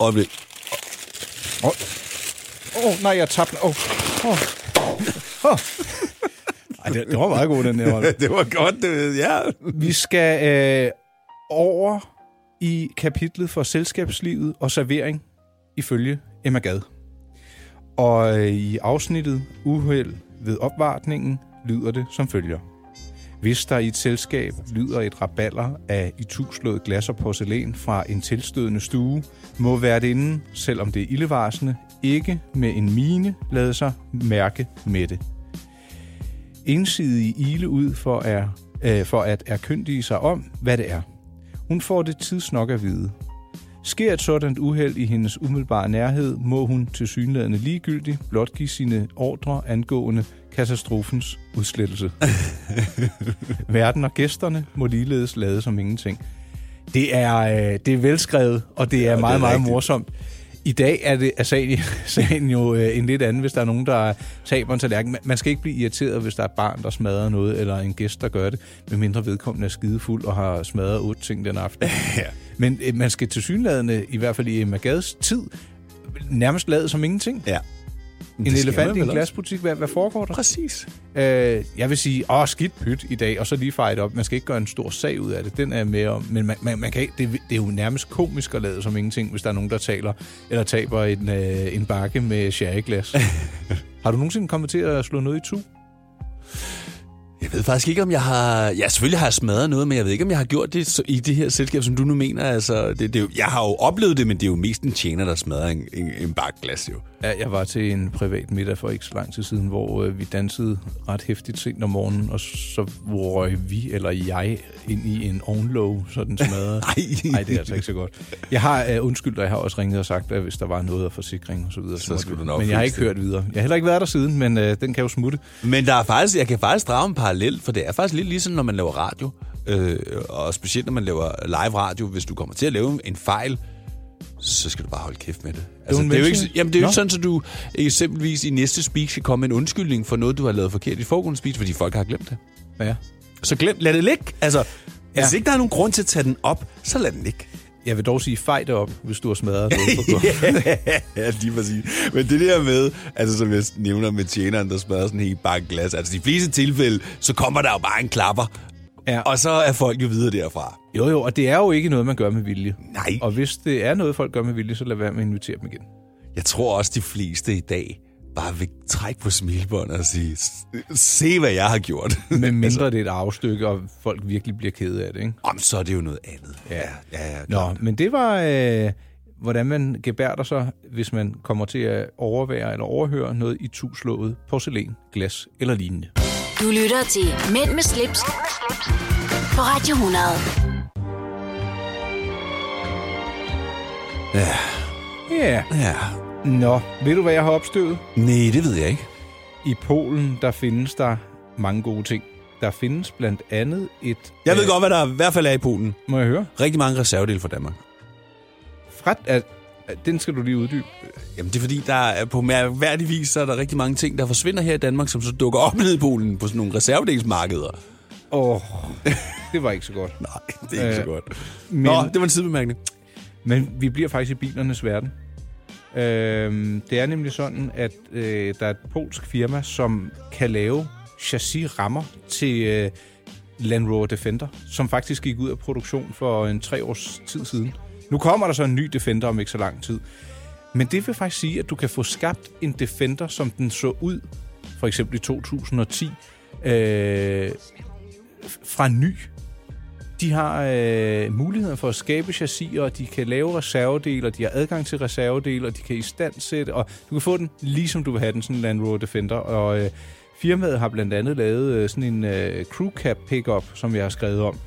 [SPEAKER 3] Øjeblik.
[SPEAKER 2] Åh, oh. oh, nej, jeg tabte. Åh, oh. oh. oh. Ej, det, det var meget god, den der. Rolf.
[SPEAKER 3] det var godt, det ved jeg.
[SPEAKER 2] Vi skal øh, over i kapitlet for selskabslivet og servering ifølge Emma Gad. Og øh, i afsnittet Uheld ved opvartningen lyder det som følger. Hvis der i et selskab lyder et raballer af i tuslået glas og porcelæn fra en tilstødende stue, må værtinden, selvom det er ildevarsende, ikke med en mine lade sig mærke med det. Ensidige ile ud for at, øh, for at erkyndige sig om, hvad det er. Hun får det tidsnok at vide. Sker et sådan uheld i hendes umiddelbare nærhed, må hun til synlædende ligegyldig blot give sine ordre angående katastrofens udslettelse. Verden og gæsterne må ligeledes lade som ingenting. Det er, øh, det er velskrevet, og det er ja, meget,
[SPEAKER 3] det er
[SPEAKER 2] det meget
[SPEAKER 3] rigtigt.
[SPEAKER 2] morsomt. I dag er, det, er sagen, sagen jo øh, en lidt anden, hvis der er nogen, der taber en tallerken. Man- Man skal ikke blive irriteret, hvis der er et barn, der smadrer noget, eller en gæst, der gør det, medmindre vedkommende er skidefuld og har smadret otte ting den aften.
[SPEAKER 3] Ja.
[SPEAKER 2] Men øh, man skal til synlædende, i hvert fald i Emma Gads tid, nærmest lade som ingenting.
[SPEAKER 3] Ja.
[SPEAKER 2] En
[SPEAKER 3] det skal
[SPEAKER 2] elefant
[SPEAKER 3] man
[SPEAKER 2] i en
[SPEAKER 3] vel også.
[SPEAKER 2] glasbutik, hvad, hvad foregår der?
[SPEAKER 3] Præcis.
[SPEAKER 2] Øh, jeg vil sige, åh, skidt pyt i dag, og så lige fejre det op. Man skal ikke gøre en stor sag ud af det, den er jeg med om. Men man, man, man kan, ikke- det, det er jo nærmest komisk at lade som ingenting, hvis der er nogen, der taler eller taber en, øh, en bakke med sherryglas. Har du nogensinde kommet til at slå noget i tu?
[SPEAKER 3] Jeg ved faktisk ikke, om jeg har... Ja, selvfølgelig har jeg smadret noget, men jeg ved ikke, om jeg har gjort det så- i det her selskab, som du nu mener. Altså, det, det, er jo- jeg har jo oplevet det, men det er jo mest en tjener, der smadrer en, en, en bakglas, jo.
[SPEAKER 2] Ja, jeg var til en privat middag for ikke så lang tid siden, hvor øh, vi dansede ret hæftigt sent om morgenen, og så røg vi eller jeg ind i en ovenlåg, så den smadrede.
[SPEAKER 3] Ej.
[SPEAKER 2] Nej, det er altså ikke så godt. Jeg har øh, undskyldt, og jeg har også ringet og sagt, at hvis der var noget af forsikring og så videre,
[SPEAKER 3] Så
[SPEAKER 2] måtte
[SPEAKER 3] skulle
[SPEAKER 2] vi-
[SPEAKER 3] du nok
[SPEAKER 2] Men jeg har
[SPEAKER 3] fikse
[SPEAKER 2] ikke
[SPEAKER 3] det.
[SPEAKER 2] hørt videre. Jeg har heller ikke været der siden, men øh, den kan jo smutte.
[SPEAKER 3] Men der er faktisk, jeg kan faktisk drage en parallel, for det er faktisk lidt ligesom, når man laver radio. Øh, og specielt, når man laver live radio. Hvis du kommer til at lave en fejl, så skal du bare holde kæft med det. Altså,
[SPEAKER 2] en
[SPEAKER 3] det er jo ikke,
[SPEAKER 2] mention.
[SPEAKER 3] jamen, det er jo
[SPEAKER 2] Nå.
[SPEAKER 3] ikke sådan, at du eksempelvis i næste speech skal komme med en undskyldning for noget, du har lavet forkert i foregående speech, fordi folk har glemt det.
[SPEAKER 2] Ja.
[SPEAKER 3] Så glem, lad det ligge. Altså, ja. hvis
[SPEAKER 2] Ja.
[SPEAKER 3] ikke der er nogen grund til at tage den op, så lad den ligge.
[SPEAKER 2] Jeg vil dog sige, fej det op, hvis du har smadret noget på gulvet.
[SPEAKER 3] ja, lige præcis. Men det der med, altså som jeg nævner med tjeneren, der smadrer sådan en hel bakke glas, altså de fleste tilfælde, så kommer der jo bare en klapper.
[SPEAKER 2] Ja.
[SPEAKER 3] Og så er folk jo videre derfra.
[SPEAKER 2] Jo, jo, og det er jo ikke noget, man gør med vilje.
[SPEAKER 3] Nej.
[SPEAKER 2] Og hvis det er noget, folk gør med vilje, så lad være med at invitere dem igen.
[SPEAKER 3] Jeg tror også, de fleste i dag bare vil trække på smilbåndet og sige, "S- se hvad jeg har gjort.
[SPEAKER 2] Men mindre det er et arvestykke, og folk virkelig bliver kede af det, ikke?
[SPEAKER 3] Om så er det jo noget andet. Ja, ja, ja.
[SPEAKER 2] Nå, men det var, øh, hvordan man gebærder sig, hvis man kommer til at overvære eller overhøre noget i tuslået porcelæn, glas eller lignende.
[SPEAKER 1] Du lytter til Mænd med slips, på Radio 100.
[SPEAKER 3] Ja,
[SPEAKER 2] Ja.
[SPEAKER 3] ja.
[SPEAKER 2] Nå, ved du, hvad jeg har opstøvet?
[SPEAKER 3] Nej, det ved jeg ikke.
[SPEAKER 2] I Polen, der findes der mange gode ting. Der findes blandt andet et... øh,
[SPEAKER 3] Jeg ved godt, hvad der i hvert fald er i Polen.
[SPEAKER 2] Må jeg høre?
[SPEAKER 3] Rigtig mange reservedele fra Danmark.
[SPEAKER 2] Fret, at, at, den skal du lige uddybe.
[SPEAKER 3] Jamen det er fordi, der er på mærkværdig vis, så er der rigtig mange ting, der forsvinder her i Danmark, som så dukker op nede i Polen på sådan nogle reservedelsmarkeder.
[SPEAKER 2] Åh, oh, det var ikke så godt.
[SPEAKER 3] Nej, det er ikke øh, så
[SPEAKER 2] Øh,
[SPEAKER 3] godt.
[SPEAKER 2] men-
[SPEAKER 3] Nå, det var en sidebemærkning.
[SPEAKER 2] Men vi bliver faktisk i bilernes verden. Øhm, det er nemlig sådan, at øh, der er et polsk firma, som kan lave chassis-rammer til øh, Land Rover Defender, som faktisk gik ud af produktion for en tre års tid siden. Nu kommer der så en ny Defender om ikke så lang tid. Men det vil faktisk sige, at du kan få skabt en Defender, som den så ud, for eksempel i 2010, øh, f- fra ny. De har øh, muligheden for at skabe chassier, og de kan lave reservedele, og de har adgang til reservedele, og de kan istandsætte, og du kan få den lige som du vil have den, sådan en Land Rover Defender. Og øh, firmaet har blandt andet lavet øh, sådan en øh, crew cab pickup, som jeg har skrevet om.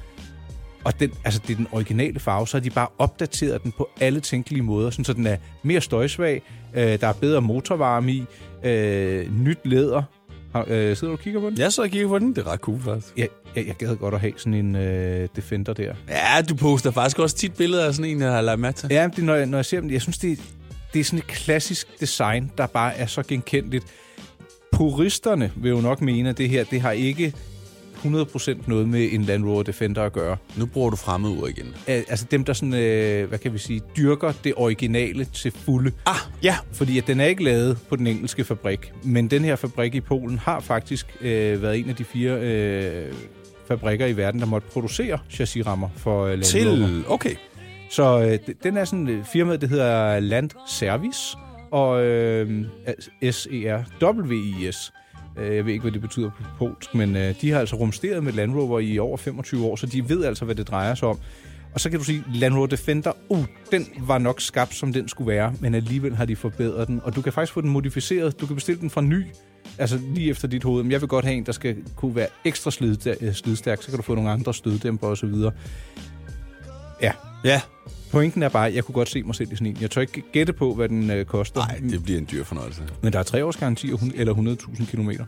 [SPEAKER 2] Og den, altså, det er den originale farve, så har de bare opdateret den på alle tænkelige måder, sådan, så den er mere støjsvag, øh, der er bedre motorvarme i, øh, nyt læder. Har, øh, sidder du og kigger på den?
[SPEAKER 3] Jeg sidder og kigger på den, det er ret cool faktisk.
[SPEAKER 2] Jeg, jeg, jeg gad godt at have sådan en øh, Defender der.
[SPEAKER 3] Ja, du poster faktisk også tit billeder af sådan en, jeg har lagt mærke til.
[SPEAKER 2] Ja, men det, når, jeg, når jeg ser dem, jeg synes, det, det er sådan et klassisk design, der bare er så genkendeligt. Puristerne vil jo nok mene, at det her det har ikke 100% noget med en Land Rover Defender at gøre.
[SPEAKER 3] Nu bruger du fremmedord igen.
[SPEAKER 2] Al- Altså dem, der sådan, øh, hvad kan vi sige, dyrker det originale til fulde. Ah,
[SPEAKER 3] ja.
[SPEAKER 2] Fordi at den er ikke lavet på den engelske fabrik, men den her fabrik i Polen har faktisk øh, været en af de fire øh, fabrikker i verden, der måtte producere chassisrammer for øh, Land
[SPEAKER 3] Til-
[SPEAKER 2] Rover.
[SPEAKER 3] okay.
[SPEAKER 2] Så øh, d- den er sådan øh, firmaet, det hedder Land Service, og øh, E, S-E-R-W-I-S. Øh, Jeg ved ikke, hvad det betyder på polsk, men øh, de har altså rumsteret med Land Rover i over 25 år, så de ved altså, hvad det drejer sig om. Og så kan du sige, Land Rover Defender, uh, den var nok skabt, som den skulle være, men alligevel har de forbedret den. Og du kan faktisk få den modificeret. Du kan bestille den fra ny, altså lige efter dit hoved. Men jeg vil godt have en, der skal kunne være ekstra slid, øh, slidstærk, så kan du få nogle andre støddæmper osv. Ja.
[SPEAKER 3] Ja.
[SPEAKER 2] Pointen er bare, at jeg kunne godt se mig selv i sådan en. Jeg tør ikke gætte på, hvad den øh, koster. Nej,
[SPEAKER 3] det bliver en dyr fornøjelse.
[SPEAKER 2] Men der er tre års garanti og hun- eller 100.000 kilometer.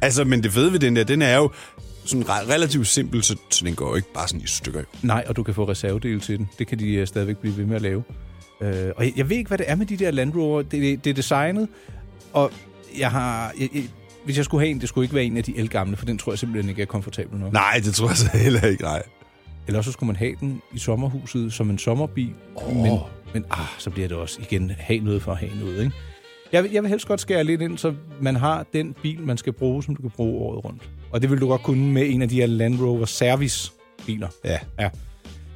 [SPEAKER 3] Altså, men det fede ved den der, den er jo sådan re- relativt simpel, så, så den går jo ikke bare sådan i stykker. jo.
[SPEAKER 2] Nej, og du kan få reservedele til den. Det kan de øh, stadigvæk blive ved med at lave. Øh, og jeg, jeg ved ikke, hvad det er med de der Land Rover. Det, det, det er designet, og jeg har... Jeg, jeg, hvis jeg skulle have en, det skulle ikke være en af de elgamle, for den tror jeg simpelthen ikke er komfortabel nok.
[SPEAKER 3] Nej, det tror jeg så heller ikke, nej.
[SPEAKER 2] Eller også så skulle man have den i sommerhuset som en sommerbil. Oh. Men, men ah, så bliver det også igen have noget for at have noget, ikke? Jeg vil, jeg vil helst godt skære lidt ind, så man har den bil, man skal bruge, som du kan bruge året rundt. Og det vil du godt kunne med en af de her Land Rover Service-biler.
[SPEAKER 3] Ja.
[SPEAKER 2] ja.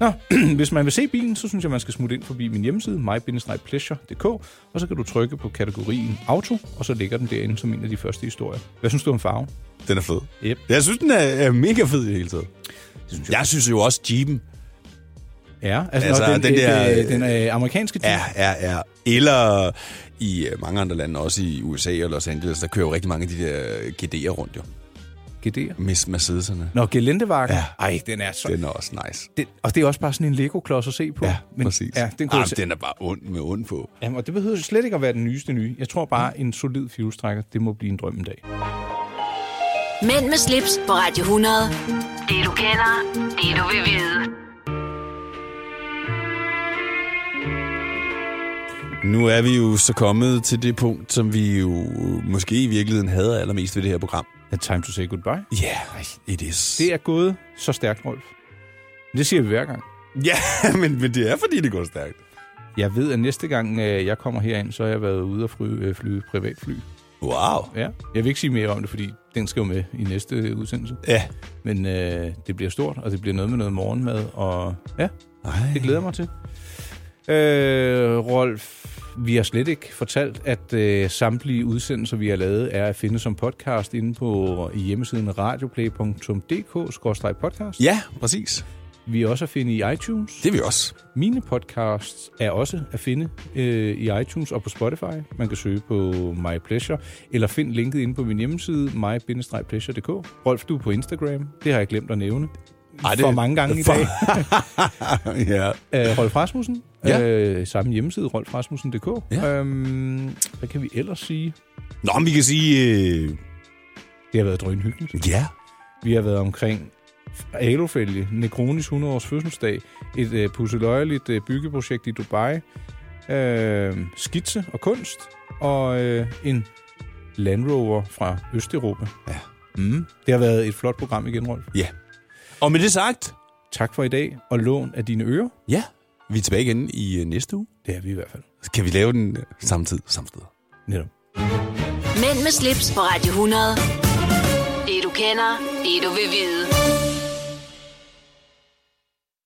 [SPEAKER 2] Nå, hvis man vil se bilen, så synes jeg, man skal smutte ind forbi min hjemmeside, my-pleasure.dk, og så kan du trykke på kategorien Auto, og så ligger den derinde som en af de første historier. Hvad synes du om farven?
[SPEAKER 3] Den er fed.
[SPEAKER 2] Yep.
[SPEAKER 3] Jeg synes, den er, er mega fed i det hele taget. Det synes jeg. jeg synes jo også, Jeep'en.
[SPEAKER 2] Ja, altså, altså den, den, der, den, den, den øh, amerikanske Jeep.
[SPEAKER 3] Ja, ja, ja. Eller i øh, mange andre lande, også i USA og Los Angeles, der kører jo rigtig mange af de der øh, GD'er rundt jo.
[SPEAKER 2] GD'er?
[SPEAKER 3] Med Mercedes'erne.
[SPEAKER 2] Nå, Gelendewagen. Ja. Ej, den er så...
[SPEAKER 3] Den er også nice.
[SPEAKER 2] Det, og det er også bare sådan en Lego-klods at se på. Ja,
[SPEAKER 3] Men, Præcis.
[SPEAKER 2] Ja, den, kunne
[SPEAKER 3] Jamen,
[SPEAKER 2] jeg se-
[SPEAKER 3] den er bare ond med ond på.
[SPEAKER 2] Jamen, og det behøver slet ikke at være den nyeste nye. Jeg tror bare, en solid fjulstrækker, det må blive en drøm en dag.
[SPEAKER 1] Mænd med slips på Radio 100. Det du kender, det du vil vide.
[SPEAKER 3] Nu er vi jo så kommet til det punkt, som vi jo måske i virkeligheden hader allermest ved det her program.
[SPEAKER 2] The time to say goodbye.
[SPEAKER 3] Ja, yeah, it is.
[SPEAKER 2] Det er gået så stærkt, Rolf. Men Det siger vi hver gang.
[SPEAKER 3] Ja, men, men det er, fordi det går stærkt.
[SPEAKER 2] Jeg ved, at næste gang øh, jeg kommer herind, så har jeg været ude og fly, øh, flyve privatfly.
[SPEAKER 3] Wow.
[SPEAKER 2] Ja, jeg vil ikke sige mere om det, fordi den skal jo med i næste øh, udsendelse.
[SPEAKER 3] Ja.
[SPEAKER 2] Men øh, det bliver stort, og det bliver noget med noget morgenmad, og ja,
[SPEAKER 3] Ej.
[SPEAKER 2] det glæder jeg mig til. Øh, Rolf, vi har slet ikke fortalt, at øh, samtlige udsendelser, vi har lavet, er at finde som podcast inde på hjemmesiden radioplay.dk-podcast.
[SPEAKER 3] Ja, præcis.
[SPEAKER 2] Vi er også at finde i iTunes.
[SPEAKER 3] Det er vi også.
[SPEAKER 2] Mine podcasts er også at finde øh, i iTunes og på Spotify. Man kan søge på My Pleasure, eller find linket inde på min hjemmeside, my-pleasure.dk. Rolf, du er på Instagram. Det har jeg glemt at nævne.
[SPEAKER 3] Ej, det-
[SPEAKER 2] For mange gange
[SPEAKER 3] for-
[SPEAKER 2] i dag.
[SPEAKER 3] ja.
[SPEAKER 2] Øh, Rolf Rasmussen.
[SPEAKER 3] Ja.
[SPEAKER 2] Øh, samme hjemmeside, rolfrasmussen.dk.
[SPEAKER 3] Ja.
[SPEAKER 2] Øhm, hvad kan vi ellers sige?
[SPEAKER 3] Nå, men vi kan sige... Øh...
[SPEAKER 2] Det har været drønhyggeligt.
[SPEAKER 3] Ja.
[SPEAKER 2] Vi har været omkring alofælge, Necronis 100-års fødselsdag, et øh, pusseløjeligt øh, byggeprojekt i Dubai, øh, skitse og kunst, og øh, en Land Rover fra Østeuropa.
[SPEAKER 3] Ja.
[SPEAKER 2] Mm. Det har været et flot program igen, Rolf.
[SPEAKER 3] Ja. Og med det sagt...
[SPEAKER 2] Tak for i dag, og lån af dine ører.
[SPEAKER 3] Ja, vi er tilbage igen i øh, næste uge.
[SPEAKER 2] Det er vi i hvert fald.
[SPEAKER 3] Kan vi lave den øh, samtidig, samme sted?
[SPEAKER 2] Netop.
[SPEAKER 1] Mænd med slips på Radio 100. Det du kender, det du vil vide.